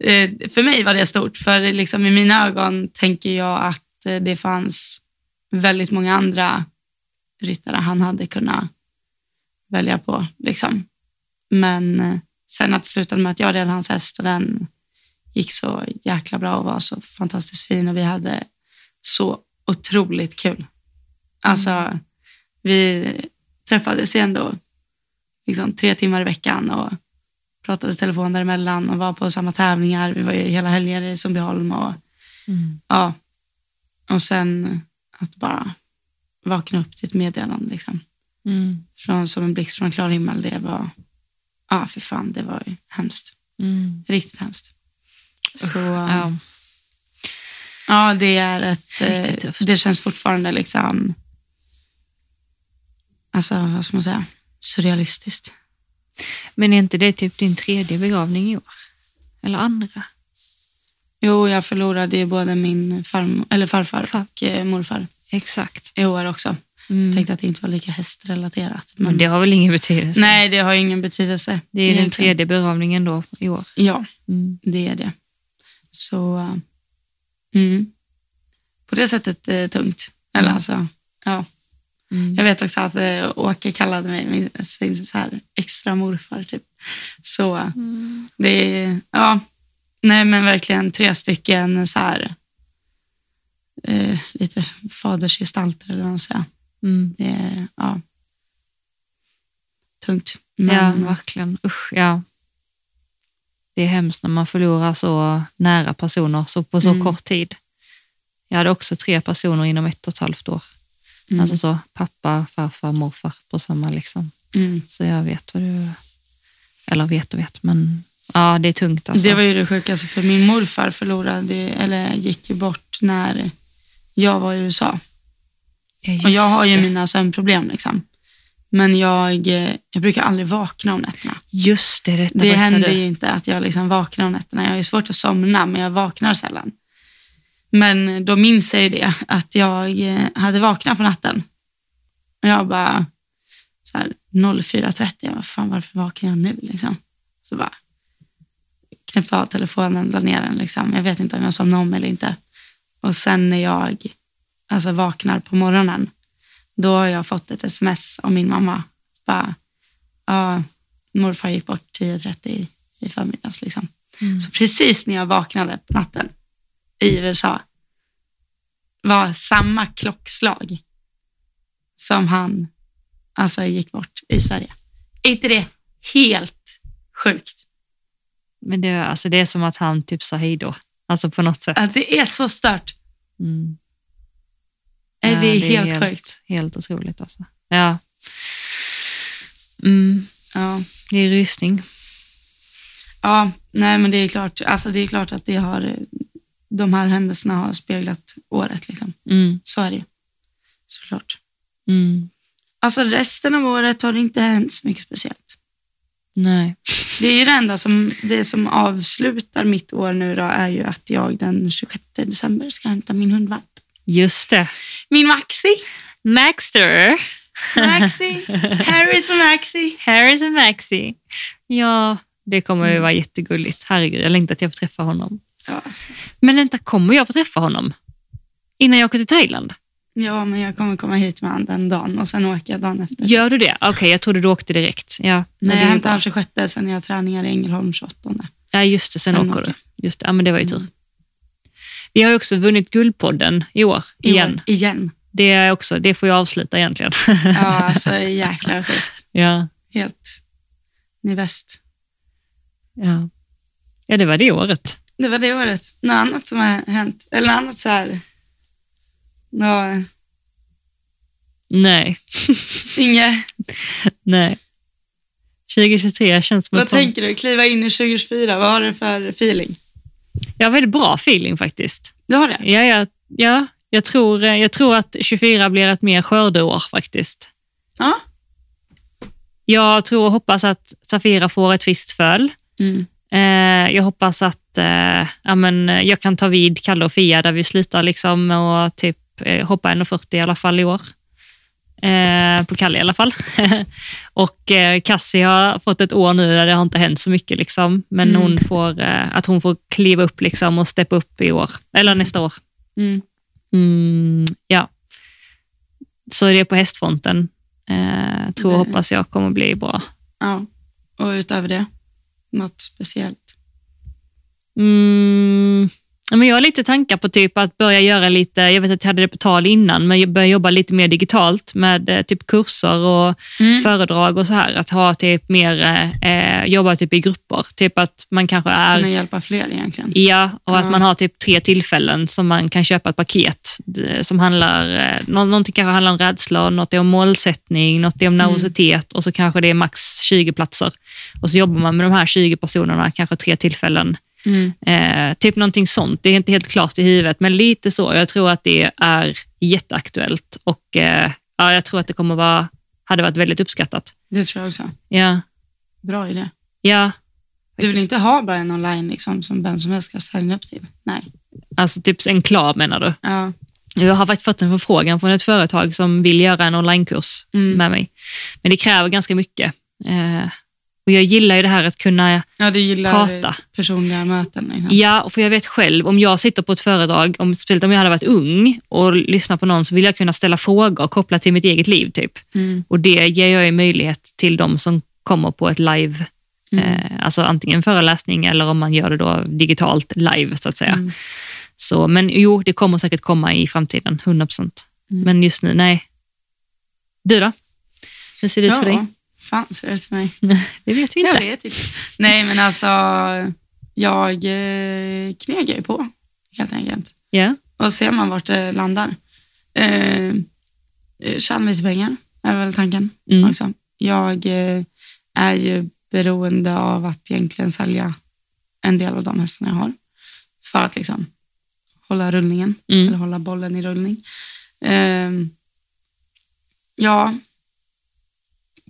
Speaker 1: eh, för mig var det stort, för liksom i mina ögon tänker jag att eh, det fanns väldigt många andra ryttare han hade kunnat välja på. Liksom. Men eh, sen att det slutade med att jag red hans häst och den gick så jäkla bra och var så fantastiskt fin och vi hade så otroligt kul. Alltså, vi träffades ju ändå liksom, tre timmar i veckan och pratade i telefon däremellan och var på samma tävlingar. Vi var ju hela helger i Sundbyholm och
Speaker 2: Mm.
Speaker 1: ja. Och sen att bara vakna upp till ett meddelande liksom
Speaker 2: Mm.
Speaker 1: från, som en blixt från klar himmel. Det var, ja ah, för fan, det var ju hemskt.
Speaker 2: Mm.
Speaker 1: Riktigt hemskt. Så,
Speaker 2: Ja.
Speaker 1: Ja, det är ett... eh,
Speaker 2: Riktigt tufft.
Speaker 1: Det känns fortfarande liksom... Alltså, vad ska man säga? Surrealistiskt.
Speaker 2: Men är inte det typ din tredje begravning i år? Eller andra?
Speaker 1: Jo, jag förlorade ju både min farm, eller farfar
Speaker 2: Far-
Speaker 1: och eh, morfar
Speaker 2: Exakt.
Speaker 1: i år också.
Speaker 2: Mm.
Speaker 1: Jag tänkte att det inte var lika hästrelaterat.
Speaker 2: Men
Speaker 1: Men
Speaker 2: det har väl ingen betydelse?
Speaker 1: Nej, det har ju ingen betydelse.
Speaker 2: Det är den
Speaker 1: egentligen.
Speaker 2: tredje begravningen då i år. Mm.
Speaker 1: Ja, det är det. Så... eh, Mm. På det sättet eh, tungt. Eller alltså, ja.
Speaker 2: Mm.
Speaker 1: Jag vet också att eh, Åke kallade mig min, sin så här, extra morfar. Typ. Så eh, det är, ja, nej men verkligen tre stycken så här, eh, lite fadersgestalter eller vad man säger.
Speaker 2: Mm.
Speaker 1: Det är, ja, tungt.
Speaker 2: Ja,
Speaker 1: Men,
Speaker 2: verkligen. Usch, ja. Det är hemskt när man förlorar så nära personer så på så
Speaker 1: Mm.
Speaker 2: kort tid. Jag hade också tre personer inom ett och ett halvt år.
Speaker 1: mm,
Speaker 2: Alltså så, pappa, farfar, morfar på samma liksom.
Speaker 1: mm.
Speaker 2: Så jag vet vad du... Eller vet och vet, men ja, det är tungt alltså.
Speaker 1: Det var ju det sjukaste för min morfar förlorade, eller gick ju bort när jag var i USA.
Speaker 2: Ja, just
Speaker 1: Och jag har ju
Speaker 2: det.
Speaker 1: mina sömnproblem liksom. Men jag, eh, jag brukar aldrig vakna om nätterna.
Speaker 2: Just det, detta
Speaker 1: Det
Speaker 2: berättade
Speaker 1: händer
Speaker 2: du.
Speaker 1: ju inte att jag liksom vaknar om nätterna. Jag har ju svårt att somna, men jag vaknar sällan. Men då minns jag ju det, att jag eh, hade vaknat på natten. Och jag bara, så här, 04.30, jag bara, fan varför vaknar jag nu liksom? Så bara, knäppte av telefonen, la ner den liksom. Jag vet inte om jag somnade om eller inte. Och sen när jag alltså, vaknar på morgonen, då har jag fått ett sms av min mamma. Bara, ja, morfar gick bort 10.30 i- i förmiddags. Liksom.
Speaker 2: Mm.
Speaker 1: Så precis när jag vaknade på natten i USA var samma klockslag som han alltså, gick bort i Sverige. Är inte det helt sjukt?
Speaker 2: Men det, alltså, det är som att han typ sa hej då. Alltså på något sätt.
Speaker 1: Att det är så stört.
Speaker 2: Mm.
Speaker 1: Är
Speaker 2: Ja,
Speaker 1: det, är helt, sjukt.
Speaker 2: Helt otroligt alltså. Ja. Mm,
Speaker 1: Ja.
Speaker 2: det är rysning.
Speaker 1: ja, nej men det är klart, alltså, det är klart att det har, de här händelserna har speglat året. Liksom.
Speaker 2: Mm,
Speaker 1: Så är det ju. Såklart.
Speaker 2: mm,
Speaker 1: Alltså resten av året har det inte hänt så mycket speciellt.
Speaker 2: nej.
Speaker 1: Det är ju det enda som, det som avslutar mitt år nu då är ju att jag den 26 december ska hämta min hundvalp.
Speaker 2: Just det.
Speaker 1: Min Maxi!
Speaker 2: Maxter.
Speaker 1: Maxi! Harris och Maxi!
Speaker 2: Harris och Maxi. Ja, det kommer
Speaker 1: Mm.
Speaker 2: ju vara jättegulligt. Herregud, jag längtar till jag får träffa honom.
Speaker 1: Ja, alltså.
Speaker 2: Men vänta, kommer jag få träffa honom? Innan jag åker till Thailand?
Speaker 1: ja, men jag kommer komma hit med han den dagen och sen åker jag dagen efter.
Speaker 2: Gör du det? Okej, jag trodde du åkte direkt. Ja, men
Speaker 1: Nej,
Speaker 2: det
Speaker 1: jag
Speaker 2: är ju
Speaker 1: hämtar
Speaker 2: bra.
Speaker 1: han 26, sen är jag träningar i Ängelholm 28.
Speaker 2: Ja, just det. Sen,
Speaker 1: Sen
Speaker 2: åker
Speaker 1: åker. Mm.
Speaker 2: du. Just det. Ja, men det var ju tur. Vi har ju också vunnit Guldpodden i år,
Speaker 1: I år.
Speaker 2: igen.
Speaker 1: Igen.
Speaker 2: Det, är också, det får jag avsluta egentligen.
Speaker 1: Ja, alltså jäkla sjukt.
Speaker 2: Ja.
Speaker 1: Helt. Ni är bäst.
Speaker 2: ja. Ja, det var det året.
Speaker 1: Det var det året. Något annat som har hänt? Eller något annat så här... Nå,
Speaker 2: Nej.
Speaker 1: inget.
Speaker 2: Nej. 2023 känns som
Speaker 1: Vad
Speaker 2: ett sånt-
Speaker 1: tänker du? Kliva in i 2024, vad har du för feeling?
Speaker 2: Jag har väldigt bra feeling faktiskt.
Speaker 1: Du har det?
Speaker 2: Ja, ja, ja. Jag, tror, eh, jag tror att 24 blir ett mer skördeår faktiskt.
Speaker 1: Ja.
Speaker 2: Jag tror och hoppas att Safira får ett friskt föl.
Speaker 1: Mm.
Speaker 2: Eh, jag hoppas att eh, ja, men, eh, jag kan ta vid Kalle och Fia där vi slutar liksom och typ eh, hoppa 1,40 i alla fall i år. Eh, på Kalle i alla fall. och eh, Cassie har fått ett år nu där det har inte hänt så mycket. Liksom. Men
Speaker 1: Mm.
Speaker 2: hon får, eh, att hon får kliva upp liksom, och steppa upp i år, eller nästa år.
Speaker 1: Mm.
Speaker 2: Mm, ja. Så det är på hästfronten. Eh, tror och
Speaker 1: Det-
Speaker 2: hoppas jag kommer bli bra.
Speaker 1: ja. Och utöver det, något speciellt?
Speaker 2: Mm, Ja, Men jag har lite tankar på typ att börja göra lite, jag vet att jag hade det på tal innan, men jag börjar jobba lite mer digitalt med eh, typ kurser och
Speaker 1: Mm.
Speaker 2: föredrag och så här. Att ha typ mer, eh, eh, jobba typ i grupper. Typ att man kanske är
Speaker 1: Kunna hjälpa fler egentligen.
Speaker 2: Ja, och att
Speaker 1: Ja.
Speaker 2: man har typ tre tillfällen som man kan köpa ett paket d- som handlar, eh, nå- någonting kanske handlar om rädsla, något är om målsättning, något är om
Speaker 1: Mm.
Speaker 2: nervositet och så kanske det är max 20 platser. Och så jobbar man med de här 20 personerna, kanske tre tillfällen.
Speaker 1: Mm.
Speaker 2: Eh, typ någonting sånt, det är inte helt klart i huvudet, men lite så. Jag tror att det är jätteaktuellt och eh, ja, jag tror att det kommer vara, hade varit väldigt uppskattat.
Speaker 1: Det tror jag också.
Speaker 2: Ja,
Speaker 1: Bra idé.
Speaker 2: ja.
Speaker 1: Du vill
Speaker 2: faktiskt.
Speaker 1: inte ha bara en online liksom, som vem som helst ska signa upp till? Nej.
Speaker 2: Alltså typ en klar menar du?
Speaker 1: Ja.
Speaker 2: Jag har faktiskt fått en förfrågan från ett företag som vill göra en onlinekurs
Speaker 1: Mm.
Speaker 2: med mig. Men det kräver ganska mycket. Eh, och jag gillar ju det här att kunna,
Speaker 1: ja, du gillar
Speaker 2: Prata.
Speaker 1: personliga möten. Liksom.
Speaker 2: ja, och för jag vet själv, om jag sitter på ett föredrag, om, speciellt om jag hade varit ung och lyssnar på någon, så vill jag kunna ställa frågor kopplat till mitt eget liv. typ.
Speaker 1: Mm.
Speaker 2: Och det ger jag ju möjlighet till de som kommer på ett live,
Speaker 1: Mm.
Speaker 2: eh, alltså antingen föreläsning eller om man gör det då digitalt live så att säga.
Speaker 1: Mm.
Speaker 2: Så, men jo, det kommer säkert komma i framtiden, 100 procent.
Speaker 1: Mm.
Speaker 2: Men just nu, nej. Du då? Hur ser det ut för dig?
Speaker 1: Ja, fan ser det ut för mig?
Speaker 2: Det vet vi
Speaker 1: Jag
Speaker 2: inte.
Speaker 1: vet inte. Nej, men alltså, jag eh, knegar ju på helt enkelt.
Speaker 2: Ja.
Speaker 1: Och ser man vart det landar. Eh, eh, Tjäna lite pengar är väl tanken
Speaker 2: Mm.
Speaker 1: också. Jag eh, är ju beroende av att egentligen sälja en del av de hästarna jag har för att liksom hålla rullningen
Speaker 2: Mm.
Speaker 1: eller hålla bollen i rullning. Eh, ja,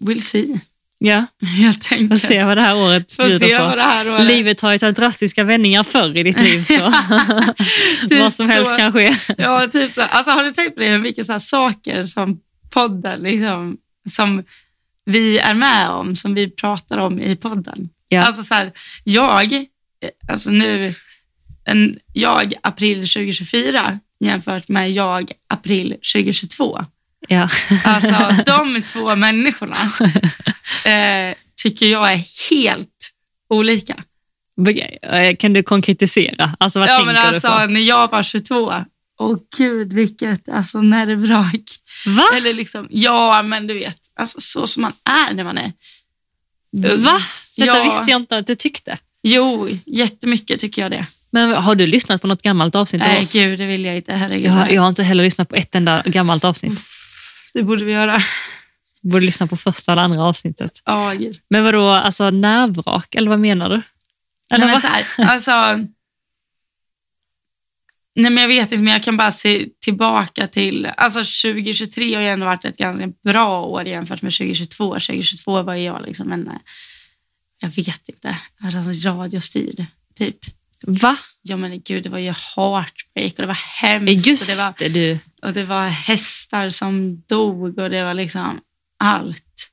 Speaker 1: we'll see
Speaker 2: ja,
Speaker 1: helt enkelt.
Speaker 2: får se vad det här året
Speaker 1: Får se
Speaker 2: bjuder
Speaker 1: vad
Speaker 2: på.
Speaker 1: det här året...
Speaker 2: Livet har ju tagit drastiska vändningar förr i ditt liv, så
Speaker 1: Typ
Speaker 2: vad som helst
Speaker 1: så.
Speaker 2: kan ske.
Speaker 1: Ja, typ så. Alltså, har du tänkt på det, hur mycket så här saker som podden, liksom, som vi är med om, som vi pratar om i podden?
Speaker 2: Ja.
Speaker 1: Alltså så här, jag, eh, alltså nu, en, jag april 2024 jämfört med jag april 2022.
Speaker 2: Ja.
Speaker 1: Alltså de två människorna eh, tycker jag är helt olika.
Speaker 2: Eh, Kan du konkretisera? Alltså, vad
Speaker 1: ja,
Speaker 2: tänker
Speaker 1: men alltså,
Speaker 2: du på?
Speaker 1: När jag var 22, åh gud vilket alltså, nervvrak.
Speaker 2: Va?
Speaker 1: Eller liksom, ja men du vet, alltså, så som man är när man är ung.
Speaker 2: Va? Detta
Speaker 1: Eh, Ja.
Speaker 2: visste jag inte att du tyckte.
Speaker 1: Jo, jättemycket tycker jag det.
Speaker 2: Men har du lyssnat på något gammalt avsnitt av
Speaker 1: Nej
Speaker 2: oss?
Speaker 1: gud, det vill jag inte. Herregud.
Speaker 2: Jag, jag har inte heller lyssnat på ett enda gammalt avsnitt.
Speaker 1: Det borde vi göra.
Speaker 2: Borde lyssna på första eller andra avsnittet.
Speaker 1: Ja, gud.
Speaker 2: Men vadå, alltså nervvrak, eller vad menar du?
Speaker 1: Nej,
Speaker 2: Eller
Speaker 1: men
Speaker 2: vad?
Speaker 1: så här, alltså, nej men jag vet inte, men jag kan bara se tillbaka till, alltså 2023 har ju ändå varit ett ganska bra år jämfört med 2022. 2022 var ju jag liksom en, eh, jag vet inte, alltså radiostyrd typ.
Speaker 2: Va?
Speaker 1: Ja men gud, det var ju heartbreak och det var
Speaker 2: Men
Speaker 1: hemskt och,
Speaker 2: Just
Speaker 1: Mm, det var,
Speaker 2: det, du.
Speaker 1: och det var hästar som dog och det var liksom allt.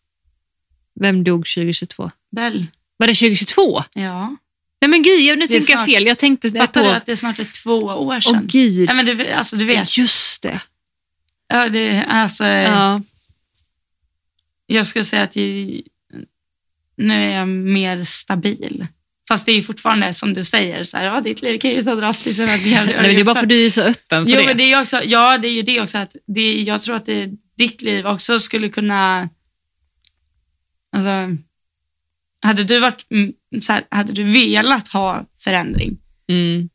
Speaker 2: Vem dog 2022?
Speaker 1: Bell,
Speaker 2: Var det 2022?
Speaker 1: ja.
Speaker 2: Nej men gud, jag, nu
Speaker 1: Det är
Speaker 2: tänker jag
Speaker 1: snart-
Speaker 2: fel. Jag tänkte att
Speaker 1: Fattar du
Speaker 2: år.
Speaker 1: att det är snart är två år
Speaker 2: Åh
Speaker 1: sedan?
Speaker 2: gud,
Speaker 1: Nej, men du, alltså, du vet,
Speaker 2: just det.
Speaker 1: Ja, det, alltså,
Speaker 2: Ja.
Speaker 1: Jag skulle säga att jag, nu är jag mer stabil. Fast det är ju fortfarande som du säger, så här, ja, ditt liv kan ju så drastiskt som att vi har-
Speaker 2: Nej, men det är bara för att du är så öppen för
Speaker 1: jo,
Speaker 2: det.
Speaker 1: Men det är ju också, ja, det är ju det också. Att det, jag tror att det, ditt liv också skulle kunna... Alltså, hade, du varit, mm, så här, hade du velat ha förändring,
Speaker 2: Mm.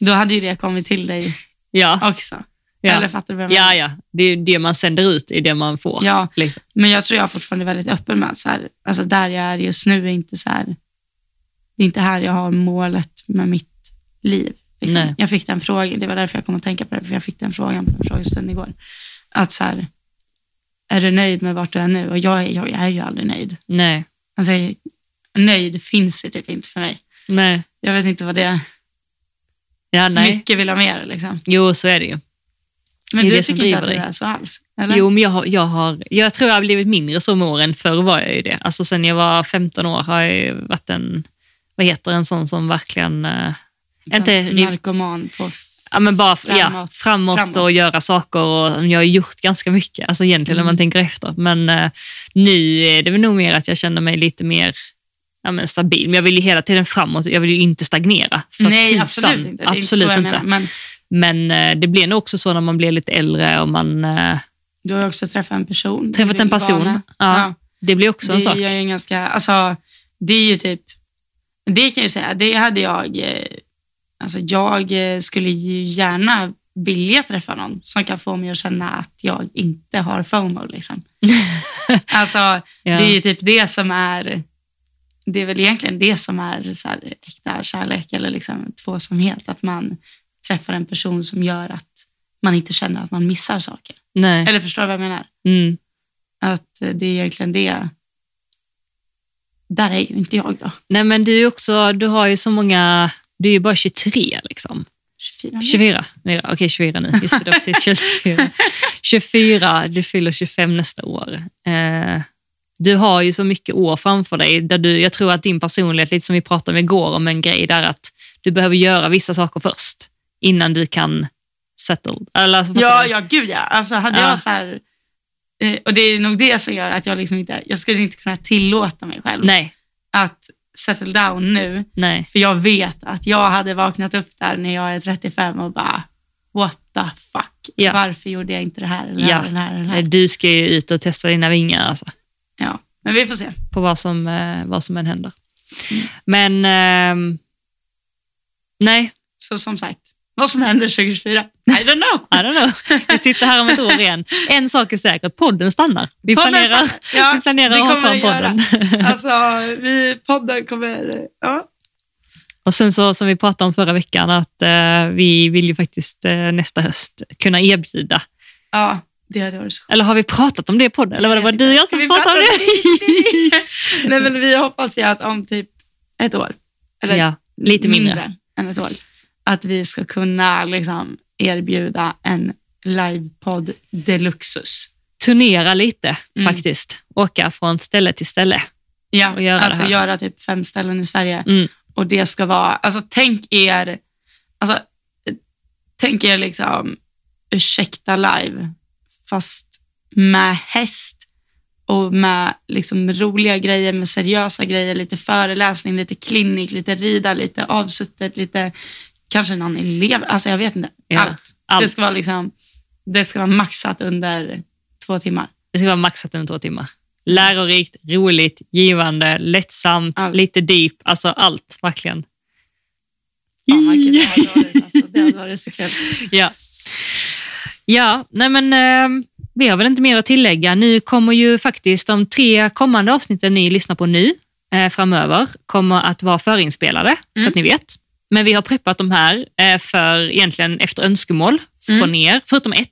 Speaker 1: då hade ju det kommit till dig
Speaker 2: Ja.
Speaker 1: också.
Speaker 2: Ja.
Speaker 1: Eller fattar du vad jag menar?
Speaker 2: ja, ja. Det är ju det man sänder ut, är det man får.
Speaker 1: Ja,
Speaker 2: Liksom.
Speaker 1: Men jag tror jag fortfarande är väldigt öppen med att så här, alltså där jag är just nu är inte så här, det är inte här jag har målet med mitt liv.
Speaker 2: Nej.
Speaker 1: Liksom. Jag fick den frågan, det var därför jag kom att tänka på det, för jag fick den frågan på en frågestund igår. Att så här, är du nöjd med vart du är nu? Och jag, är- jag, jag är ju aldrig nöjd.
Speaker 2: Nej.
Speaker 1: Alltså, jag, nöjd finns det typ inte för mig.
Speaker 2: Nej.
Speaker 1: Jag vet inte vad det är.
Speaker 2: Ja, nej.
Speaker 1: Mycket vill ha mer liksom.
Speaker 2: Jo, så är det ju.
Speaker 1: Men
Speaker 2: Det är
Speaker 1: du
Speaker 2: det som
Speaker 1: tycker inte att
Speaker 2: driver
Speaker 1: du
Speaker 2: dig.
Speaker 1: är så alls? Eller?
Speaker 2: Jo, men jag, har, jag, har, jag tror jag har blivit mindre så med åren. Förr var jag ju det. Alltså sen jag var 15 år har jag ju varit en, vad heter en sån som verkligen, eh,
Speaker 1: Så
Speaker 2: inte
Speaker 1: här,
Speaker 2: riv-
Speaker 1: narkoman på...
Speaker 2: ja men bara framåt, ja,
Speaker 1: Liksom Framåt.
Speaker 2: framåt,
Speaker 1: Framåt.
Speaker 2: och göra saker och jag har gjort ganska mycket, alltså
Speaker 1: Mm.
Speaker 2: egentligen när man tänker efter. Men eh, nu är det väl nog mer att jag känner mig lite mer, ja, men stabil, men jag vill ju hela tiden framåt. Jag vill ju inte stagnera. För
Speaker 1: Nej,
Speaker 2: tusan.
Speaker 1: absolut inte. Det är inte så
Speaker 2: Absolut
Speaker 1: jag
Speaker 2: inte.
Speaker 1: menar. Men
Speaker 2: Men eh, det blir nog också så när man blir lite äldre och man eh,
Speaker 1: du har ju också träffat en person. du
Speaker 2: träffat
Speaker 1: vill
Speaker 2: en person.
Speaker 1: vara
Speaker 2: Ja,
Speaker 1: med. Ja.
Speaker 2: Det blir också en
Speaker 1: det
Speaker 2: sak.
Speaker 1: gör ju en ganska, alltså, det är ju typ, det kan jag ju säga, det hade jag, eh, alltså jag eh, skulle ju gärna vilja träffa någon som kan få mig att känna att jag inte har FOMO. Liksom. alltså,
Speaker 2: Ja.
Speaker 1: Det är ju typ det som är, det är väl egentligen det som är så här, äkta kärlek eller liksom tvåsamhet, att man träffar en person som gör att man inte känner att man missar saker.
Speaker 2: Nej.
Speaker 1: Eller förstår du vad jag menar?
Speaker 2: Mm.
Speaker 1: att eh, det är egentligen det. Där är ju inte jag då.
Speaker 2: Nej, men du, är också, du har ju så många... Du är ju bara 23 liksom.
Speaker 1: 24 nu.
Speaker 2: 24. Nej, Okej, 24 nu. Just det, det, var precis 24. 24, du fyller 25 nästa år. Eh, du har ju så mycket år framför dig. Där du, jag tror att din personlighet, lite som vi pratade om igår, om en grej där att du behöver göra vissa saker först innan du kan settle. Eller, alltså, fattar
Speaker 1: Ja,
Speaker 2: du?
Speaker 1: ja, gud ja. Alltså hade
Speaker 2: Ja.
Speaker 1: jag så här, eh, och det är nog det som gör att jag liksom inte, jag skulle inte kunna tillåta mig själv
Speaker 2: Nej,
Speaker 1: att settle down nu.
Speaker 2: nej.
Speaker 1: För jag vet att jag hade vaknat upp där när jag är 35 och bara, what the fuck?
Speaker 2: Ja.
Speaker 1: Varför gjorde jag inte det här eller det
Speaker 2: Ja.
Speaker 1: här, eller det här, eller det
Speaker 2: Nej,
Speaker 1: här?
Speaker 2: Du ska ju ut och testa dina vingar alltså,
Speaker 1: Ja. Men vi får se.
Speaker 2: på vad som, eh, vad som än händer. Men ehm, nej,
Speaker 1: Så som sagt, vad som händer 2024, I don't know.
Speaker 2: I don't know. Vi sitter här om ett år igen. En sak är säker, podden stannar. Vi
Speaker 1: Podden
Speaker 2: planerar,
Speaker 1: stannar. Ja,
Speaker 2: vi planerar
Speaker 1: det
Speaker 2: att ha
Speaker 1: kommer vi
Speaker 2: kvar
Speaker 1: göra.
Speaker 2: podden.
Speaker 1: Alltså, vi, podden kommer... Ja.
Speaker 2: Och sen så som vi pratade om förra veckan, att eh, vi vill ju faktiskt eh, nästa höst kunna erbjuda.
Speaker 1: ja det hade varit så skönt.
Speaker 2: Eller har vi pratat om det i podden? Eller var det bara du och jag
Speaker 1: Ska
Speaker 2: som
Speaker 1: vi
Speaker 2: pratade om
Speaker 1: prata
Speaker 2: det?
Speaker 1: Nej, men vi hoppas ju att om typ ett år, eller
Speaker 2: Ja, lite mindre.
Speaker 1: än ett år, att vi ska kunna liksom, erbjuda en livepodd deluxus.
Speaker 2: Turnera lite
Speaker 1: Mm.
Speaker 2: faktiskt. Åka från ställe till ställe.
Speaker 1: Ja,
Speaker 2: och göra det
Speaker 1: alltså
Speaker 2: här.
Speaker 1: göra typ fem ställen i Sverige.
Speaker 2: Mm.
Speaker 1: Och det ska vara, alltså tänk er, alltså, eh, tänk er liksom ursäkta live, fast med häst och med liksom roliga grejer, med seriösa grejer, lite föreläsning, lite klinik, lite rida, lite avsuttet, lite kanske någon elev, alltså jag vet inte,
Speaker 2: Ja,
Speaker 1: allt. Det
Speaker 2: allt.
Speaker 1: ska vara liksom, det ska vara maxat under två timmar.
Speaker 2: Det ska vara maxat under två timmar. Lärorikt, roligt, givande, lättsamt,
Speaker 1: Allt.
Speaker 2: lite deep. Alltså allt, verkligen.
Speaker 1: Fan vad kul det hade varit, alltså, det hade varit så kul.
Speaker 2: Ja. Ja, nej men eh, vi har väl inte mer att tillägga. Nu kommer ju faktiskt de tre kommande avsnitten ni lyssnar på nu eh, framöver kommer att vara förinspelade, så
Speaker 1: Mm.
Speaker 2: att ni vet. Men vi har preppat de här eh, för egentligen efter önskemål
Speaker 1: Mm.
Speaker 2: från er, förutom ett.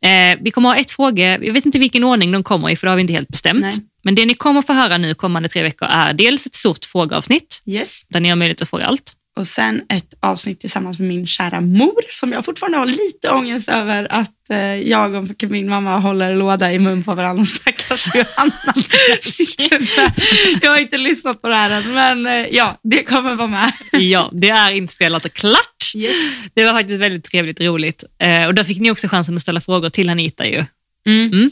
Speaker 2: Eh, vi kommer ha ett fråge, jag vet inte vilken ordning de kommer i för det har vi inte helt bestämt.
Speaker 1: Nej.
Speaker 2: Men det ni kommer få höra nu kommande tre veckor är dels ett stort frågeavsnitt
Speaker 1: Yes.
Speaker 2: där ni har möjlighet att fråga allt.
Speaker 1: Och sen ett avsnitt tillsammans med min kära mor som jag fortfarande har lite ångest över att eh, jag och min mamma håller låda i mun på varandra. Stackars Johanna. jag har inte lyssnat på det här än, men eh, ja, det kommer vara med.
Speaker 2: Ja, det är inspelat och klart. Det var faktiskt väldigt trevligt roligt. Eh, och där fick ni också chansen att ställa frågor till Anita. Ju.
Speaker 1: Mm.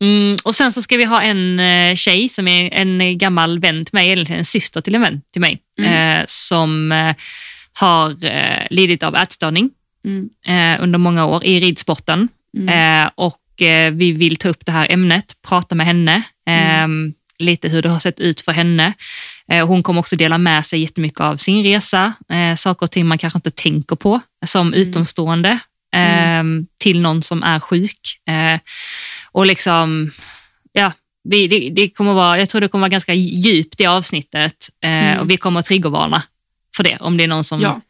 Speaker 2: Mm, och sen så ska vi ha en eh, tjej som är en gammal vän till mig, egentligen en syster till en vän till mig, eh, som eh, har eh, lidit av ätstörning
Speaker 1: Mm.
Speaker 2: eh, under många år i ridsporten. Eh, och eh, vi vill ta upp det här ämnet, prata med henne, eh,
Speaker 1: Mm.
Speaker 2: lite hur det har sett ut för henne. Eh, hon kommer också dela med sig jättemycket av sin resa, eh, saker och ting man kanske inte tänker på som
Speaker 1: Mm.
Speaker 2: utomstående eh, till någon som är sjuk. Eh, och liksom, ja, vi, det, det kommer vara, jag tror det kommer vara ganska djupt det avsnittet eh,
Speaker 1: Mm.
Speaker 2: och vi kommer att triggervarna för det om det är någon som
Speaker 1: Ja,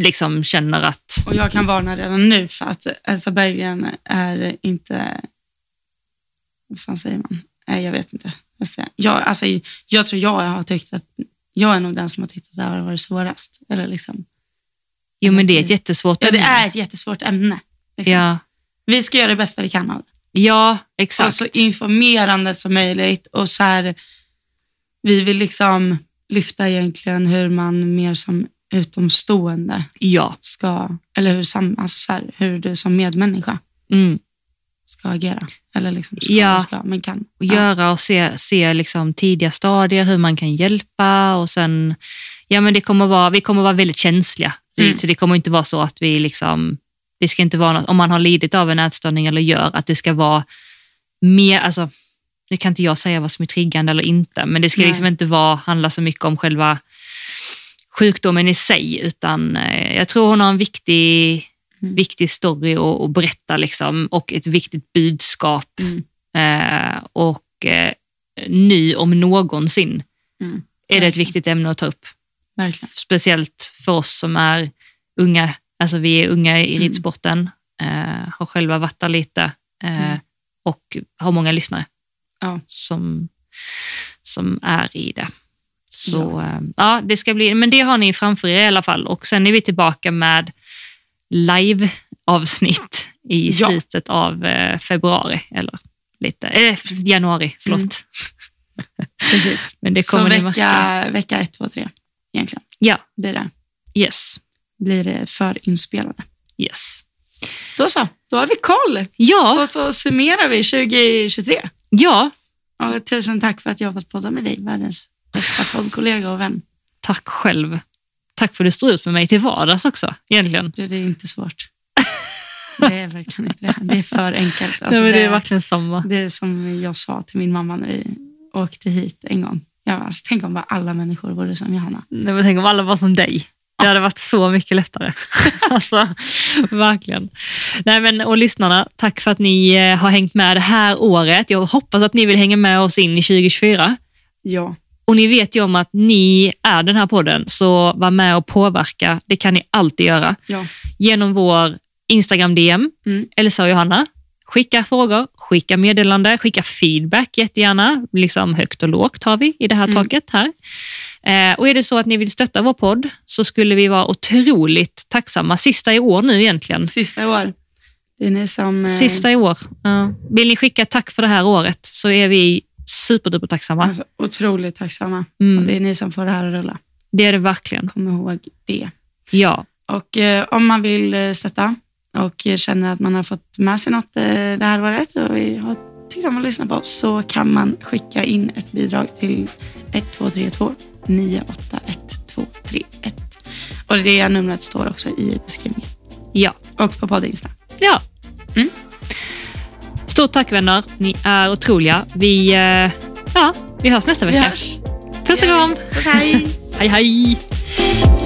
Speaker 2: liksom känner att
Speaker 1: och jag kan varna redan nu för att Elsa Berggren är inte... Vad fan säger man? Nej, jag vet inte. Jag, säger, jag, alltså, jag tror jag har tyckt att jag är nog den som har tyckt att det här har varit svårast. Eller liksom.
Speaker 2: jo men det är ett jättesvårt
Speaker 1: Mm. Ja, det
Speaker 2: ämne.
Speaker 1: är ett jättesvårt ämne. Liksom.
Speaker 2: Ja,
Speaker 1: Vi ska göra det bästa vi kan av det.
Speaker 2: ja
Speaker 1: Och
Speaker 2: exakt.
Speaker 1: så informerande som möjligt. Och så här, vi vill liksom lyfta egentligen hur man mer som utomstående
Speaker 2: ja.
Speaker 1: ska, eller hur, sam, alltså så här, hur du som medmänniska
Speaker 2: Mm.
Speaker 1: ska agera. Eller liksom ska
Speaker 2: Ja.
Speaker 1: och ska, men kan.
Speaker 2: och
Speaker 1: Ja.
Speaker 2: göra och se, se liksom tidiga stadier, hur man kan hjälpa och sen, ja men det kommer vara, vi kommer vara väldigt känsliga. Så-
Speaker 1: Mm.
Speaker 2: Så det kommer inte vara så att vi liksom, det ska inte vara något, om man har lidit av en ätstörning eller gör, att det ska vara mer, alltså nu kan inte jag säga vad som är triggande eller inte, men det ska
Speaker 1: Nej.
Speaker 2: liksom inte vara, handla så mycket om själva sjukdomen i sig, utan eh, jag tror hon har en viktig,
Speaker 1: Mm.
Speaker 2: viktig story att, att berätta liksom, och ett viktigt budskap
Speaker 1: Mm.
Speaker 2: Eh, och eh, ny om någonsin
Speaker 1: Mm.
Speaker 2: är det ett
Speaker 1: Verkligen.
Speaker 2: viktigt ämne att ta upp.
Speaker 1: Verkligen.
Speaker 2: Speciellt för oss som är unga, alltså vi är unga i
Speaker 1: Mm.
Speaker 2: ridsporten, eh, har själva varit där lite eh,
Speaker 1: Mm.
Speaker 2: och har många lyssnare
Speaker 1: Ja.
Speaker 2: som, som är i det. Så eh, ja, det ska bli, men det har ni framför er i alla fall och sen är vi tillbaka med live-avsnitt i
Speaker 1: Ja.
Speaker 2: slutet av eh, februari, eller lite, eh, januari, förlåt.
Speaker 1: Mm. Precis.
Speaker 2: Men det kommer
Speaker 1: Så
Speaker 2: ni märka.
Speaker 1: vecka, vecka ett, två, tre egentligen
Speaker 2: Ja,
Speaker 1: blir det,
Speaker 2: yes,
Speaker 1: blir det för inspelade.
Speaker 2: yes.
Speaker 1: Då så, då har vi koll
Speaker 2: Ja,
Speaker 1: och så summerar vi 2023.
Speaker 2: ja,
Speaker 1: Och tusen tack för att jag har fått podda med dig, världens bästa poddkollega och vän.
Speaker 2: tack själv. Tack för att du står ut med mig till vardags också, egentligen.
Speaker 1: Du, det är inte svårt. Det är verkligen inte det. Det är för enkelt. Alltså,
Speaker 2: Nej, men det är
Speaker 1: det-
Speaker 2: verkligen samma.
Speaker 1: Det är som jag sa till min mamma när vi åkte hit en gång. Jag bara, alltså, tänk om bara alla människor vore som Johanna.
Speaker 2: Nej, men tänk om alla var som dig. Det hade varit så mycket lättare. alltså, verkligen. Nej, men, och lyssnarna, tack för att ni eh, har hängt med det här året. Jag hoppas att ni vill hänga med oss in i 2024.
Speaker 1: Ja,
Speaker 2: Och ni vet ju om att ni är den här podden, så var med och påverka. Det kan ni alltid göra.
Speaker 1: ja.
Speaker 2: Genom vår Instagram-DM,
Speaker 1: Mm.
Speaker 2: Elsa och Johanna. Skicka frågor, skicka meddelande, skicka feedback jättegärna. Liksom högt och lågt har vi i det här
Speaker 1: Mm.
Speaker 2: taket här. Eh, och är det så att ni vill stötta vår podd så skulle vi vara otroligt tacksamma. Sista i år nu egentligen.
Speaker 1: Sista år. Det är ni som... eh,
Speaker 2: Sista i år. Ja. Vill ni skicka tack för det här året så är vi superduper tacksamma.
Speaker 1: Alltså, otroligt tacksamma. Och
Speaker 2: Mm,
Speaker 1: det är ni som får det här att rulla.
Speaker 2: det är det verkligen.
Speaker 1: Kom ihåg det.
Speaker 2: Ja,
Speaker 1: Och eh, om man vill eh, stötta och känner att man har fått med sig något eh, det här året och vi har tyckt om att lyssna på oss så kan man skicka in ett bidrag till 1232 981231. Och det numret står också i beskrivningen
Speaker 2: ja,
Speaker 1: och på podd Insta.
Speaker 2: ja.
Speaker 1: Mm.
Speaker 2: Stort tack vänner. Ni är otroliga. Vi, eh, ja, vi hörs nästa
Speaker 1: Vi
Speaker 2: vecka.
Speaker 1: hörs.
Speaker 2: Puss
Speaker 1: Det
Speaker 2: och
Speaker 1: gör
Speaker 2: kram.
Speaker 1: vi. Puss hej.
Speaker 2: Hej, hej.